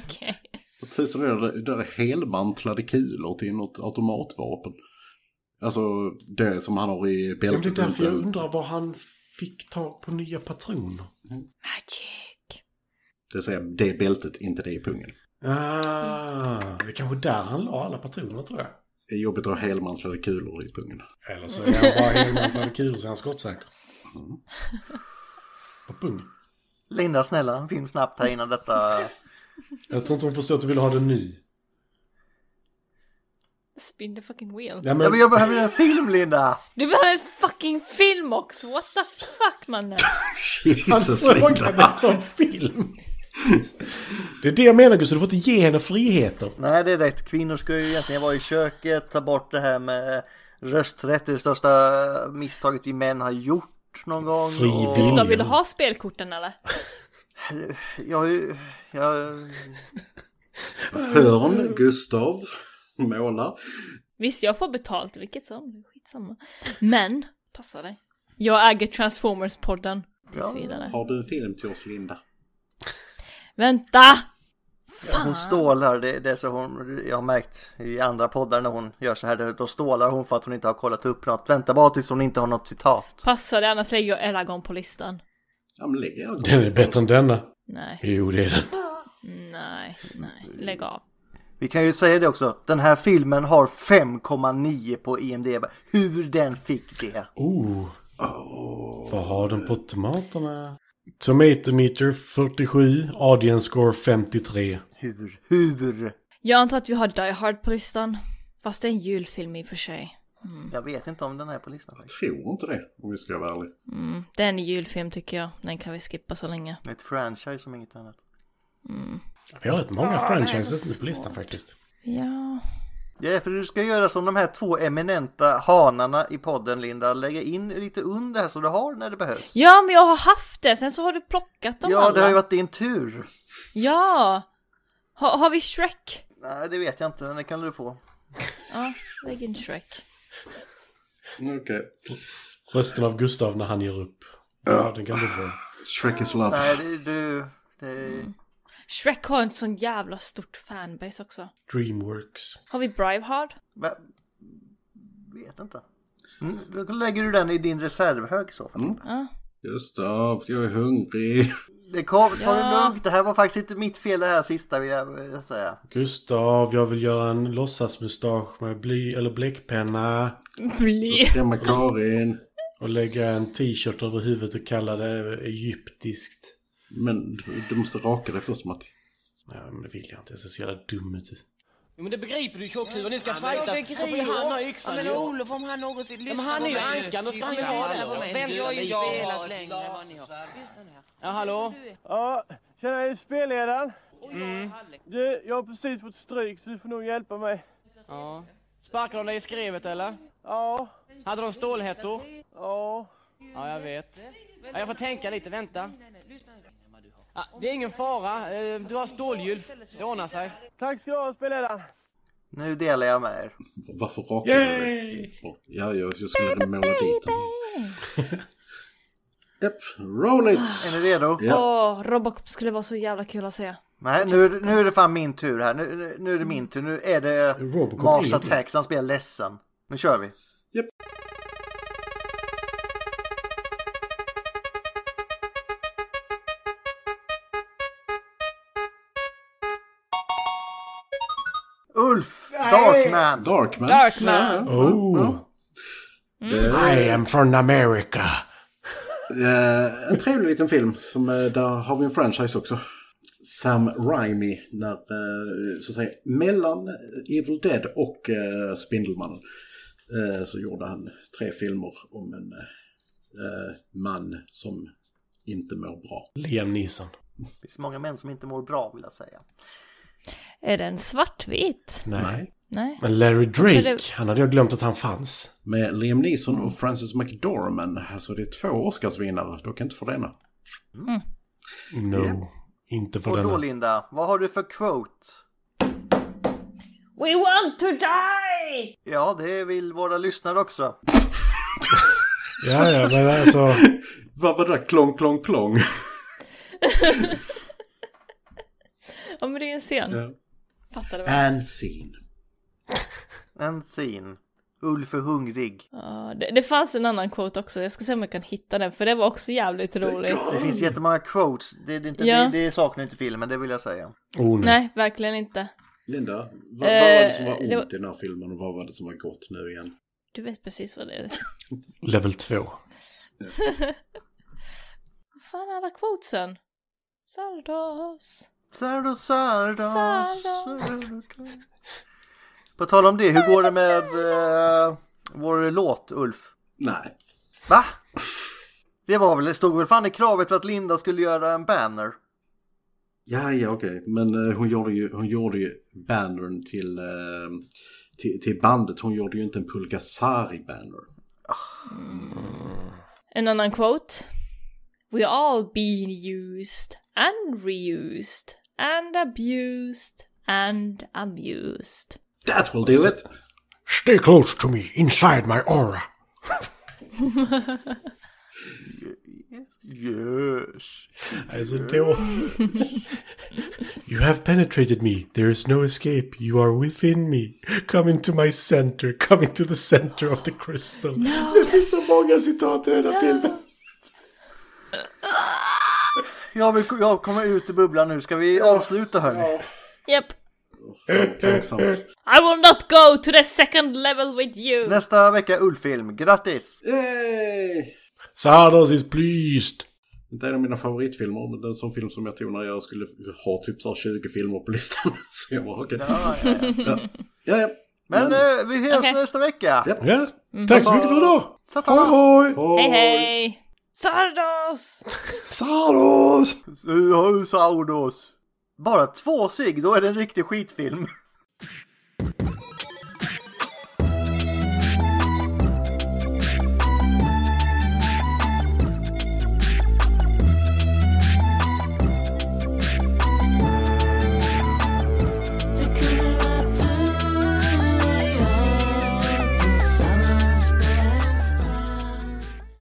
S1: Okej.
S5: Vad tusan är det? Det där är helmantlade kulor till något automatvapen. Alltså det som han har i
S4: Ja, men det är
S5: bältet.
S4: därför jag undrar var han fick tag på nya patroner.
S1: Magic.
S5: det, säger, det är bältet, inte det i pungen.
S4: Ah, det är kanske där han la alla patroner, tror jag.
S5: Det är jobbigt att ha helmantlade kulor i pungen.
S4: Eller så är han bara helmantlad kul och så är han skottsäker. Och pung.
S2: Linda, snälla, en film snabbt här innan detta.
S4: Jag tror inte hon förstår att du vill ha den ny.
S1: Spin the fucking wheel.
S4: Nej,
S2: Ja,
S4: men,
S2: men jag behöver en film Linda!
S1: Du behöver en fucking film också! What the fuck mannen!
S4: han
S5: Jesus
S4: frågade
S5: Linda!
S4: efter en film. Det är det jag menar Gustav, du får inte ge henne friheter.
S2: Nej, det är rätt. Kvinnor ska ju egentligen vara i köket, ta bort det här med rösträtt. Det är det största misstaget vi män har gjort någon gång.
S4: Frivilligt.
S1: Gustav, vill du ha spelkorten eller?
S2: Jag, jag, jag,
S5: Hörn, Gustav, måla.
S1: Visst, jag får betalt vilket som, skitsamma. Men, passa dig. Jag äger Transformers-podden. Tills vidare.
S5: Har du en film till oss, Linda?
S1: Vänta!
S2: Ja, hon stålar, det, det är så hon, jag har märkt i andra poddar när hon gör så här, då- då stålar hon för att hon inte har kollat upp något. Vänta bara tills hon inte har något citat.
S1: Passar det annars lägger jag Eragon på listan.
S5: Ja, men lägg er.
S4: Den är bättre än denna.
S1: Nej,
S4: Jo, det är den.
S1: nej, nej. Lägg av.
S2: Vi kan ju säga det också, den här filmen har 5,9 på IMDB. Hur den fick det?
S4: Oh. Vad har den på tomaterna? Tomato meter 47, audience score 53.
S2: Hur? Hur?
S1: Jag antar att vi har Die Hard på listan. Fast det är en julfilm i och för sig.
S2: Jag vet inte om den är på listan. faktiskt.
S5: Tror inte det, om vi ska vara ärliga.
S1: Mm, det är en julfilm tycker jag. Den kan vi skippa så länge.
S2: Det är ett franchise som inget annat.
S4: Vi har rätt många franchises på listan faktiskt.
S1: Ja.
S2: Det är för du ska göra som de här två eminenta hanarna i podden Linda, lägga in lite under här så du har när det behövs.
S1: Ja, men jag har haft det. Sen så har du plockat dem
S2: Ja,
S1: alla.
S2: det har ju varit din tur.
S1: Ja! Ha, har vi Shrek?
S2: Nej, det vet jag inte, men det kan du få.
S1: Ja, lägg in Shrek.
S5: Okej.
S4: Rösten av Gustav när han ger upp. Ja, den kan du få.
S5: Shrek is love.
S2: Nej, det, du... Det,
S1: Shrek har en sån jävla stort fanbase också.
S4: Dreamworks.
S1: Har vi Braveheart?
S2: Va? Vet inte. Mm, Då lägger du den i din reservhög i så fall.
S1: Ja.
S5: Gustav, jag är hungrig.
S2: Det kom, ta det
S1: Ja.
S2: lugnt, det här var faktiskt inte mitt fel det här sista vill jag eh, säga.
S4: Gustav, jag vill göra en låtsasmustasch med bly eller bläckpenna.
S1: Bli.
S5: Skrämma Karin.
S4: Och lägga en t-shirt över huvudet och kalla det egyptiskt.
S5: Men du, du måste raka dig först, Matti.
S4: Nej, men det vill jag inte. Jag ser så jävla dum ut.
S9: Men det begriper du tjockhuvan, ni ska fightas. Varför är han har yxan
S10: Men
S9: ju?
S10: Olof, om han någonsin lyssnar
S9: men han är ju ankan och Frank är hallå.
S10: Vem jag är spelat längre än vad ni har.
S9: Ja, hallå?
S11: Ja, tjena, är du spelledaren? Du, jag har precis fått stryk så du får nog hjälpa mig.
S9: Ja. Sparkade de dig i skrevet eller?
S11: Ja,
S9: Hade de stålhättor?
S11: ja.
S9: Ja, jag vet. Ja, jag får tänka lite, vänta. Ja, det är ingen fara, Eh, du har stålgylf. Det ordnar sig.
S11: Tack ska du ha spelledaren.
S2: Nu delar jag med er.
S5: Varför rakar du dig? Ja, jag, jag skulle måla dit den. Japp, roll it!
S2: Är ni redo?
S5: Ja.
S1: Åh, Robocop skulle vara så jävla kul att se.
S2: Nej, nu, är det- nu är det fan min tur här. Nu, nu, nu är det min tur. Nu är det
S4: Robocop
S2: Mars
S4: är inte.
S2: Attack som spelar ledsen. Nu kör vi.
S5: Japp.
S2: Ulf! Darkman!
S5: Darkman.
S1: Darkman.
S5: Ja, ja.
S4: Oh!
S5: Det
S4: I am from America!
S5: är, eh, en trevlig liten film. Som, eh, där har vi en franchise också. Sam Raimi, när, eh, så att säga, mellan Evil Dead och eh, Spindelmannen. Eh, så gjorde han tre filmer om en eh, man som inte mår bra.
S4: Liam Neeson.
S2: Det finns många män som inte mår bra vill jag säga.
S1: Är den svartvit?
S4: Nej.
S1: Nej.
S4: Men Larry Drake,
S1: Men det-
S4: han hade jag glömt att han fanns.
S5: Med Liam Neeson och Frances McDormand. Alltså det är två Oscarsvinnare, dock inte för denna.
S4: No. Inte för
S2: Och då
S4: denna.
S2: Linda, vad har du för quote?
S1: We want to die!
S2: Ja, det vill våra lyssnare också.
S4: Ja, ja, men alltså...
S5: Vad var det där? Klong, klong, klong.
S1: Ja men det är en scen.
S5: Ja.
S1: Fattar du väl?
S5: And scene.
S2: En scen. Ulf är hungrig.
S1: Ja, det, det fanns en annan quote också. Jag ska se om jag kan hitta den för det var också jävligt roligt.
S2: Det finns jättemånga quotes. Det, det, är inte,
S1: Mm. Ja.
S2: det, det saknar inte filmen, det vill jag säga.
S4: Oh, nej.
S1: Nej, verkligen inte.
S5: Linda, vad, vad var det som var
S1: Eh,
S5: ont
S1: det var-
S5: i den här filmen och vad var det som var gott nu igen?
S1: Du vet precis vad det är.
S4: Level 2.
S1: Vad fan är alla quotesen? Sardos.
S2: Sardo, sardo,
S1: Sardo.
S2: sardo. På tal om det, hur går det med eh, vår låt, Ulf?
S5: Nej.
S2: Va? Det var väl, det stod väl fan i kravet för att Linda skulle göra en banner?
S5: Ja, ja, okej. Men eh, hon, gjorde ju, hon gjorde ju bannern till, eh, till, till bandet. Hon gjorde ju inte en Pulgasari-banner.
S1: En annan quote. We all been used and reused and abused and amused.
S5: That will do it!
S4: Stay close to me, inside my aura.
S2: Yes.
S4: Alltså då... You have penetrated me. There is no escape. You are within me. Come into my center. Come into the center of the crystal. Det finns så många citat i den här filmen.
S2: Jag, vill, jag kommer ut ur bubblan nu. Ska vi avsluta hörni?
S1: Yep.
S2: Plågsamt.
S1: I will not go to the second level with you!
S2: Nästa vecka Ulffilm. Grattis!
S5: Yay!
S4: Sardos is pleased.
S5: Det är Eh, en av mina favoritfilmer, men det är en sån film som jag tog när jag skulle ha typ så här 20 filmer på listan. Så jag bara okej.
S2: Ja, ja, ja.
S5: Ja. Ja, ja.
S2: Men eh, vi hörs nästa vecka.
S5: Ja.
S4: Ja, tack så mycket för idag.
S2: Ta-ta.
S4: Hoj, hoj!
S1: Hej hej! Sardos!
S4: Sardos!
S2: Saudos. Bara två sig, då är det en riktig skitfilm.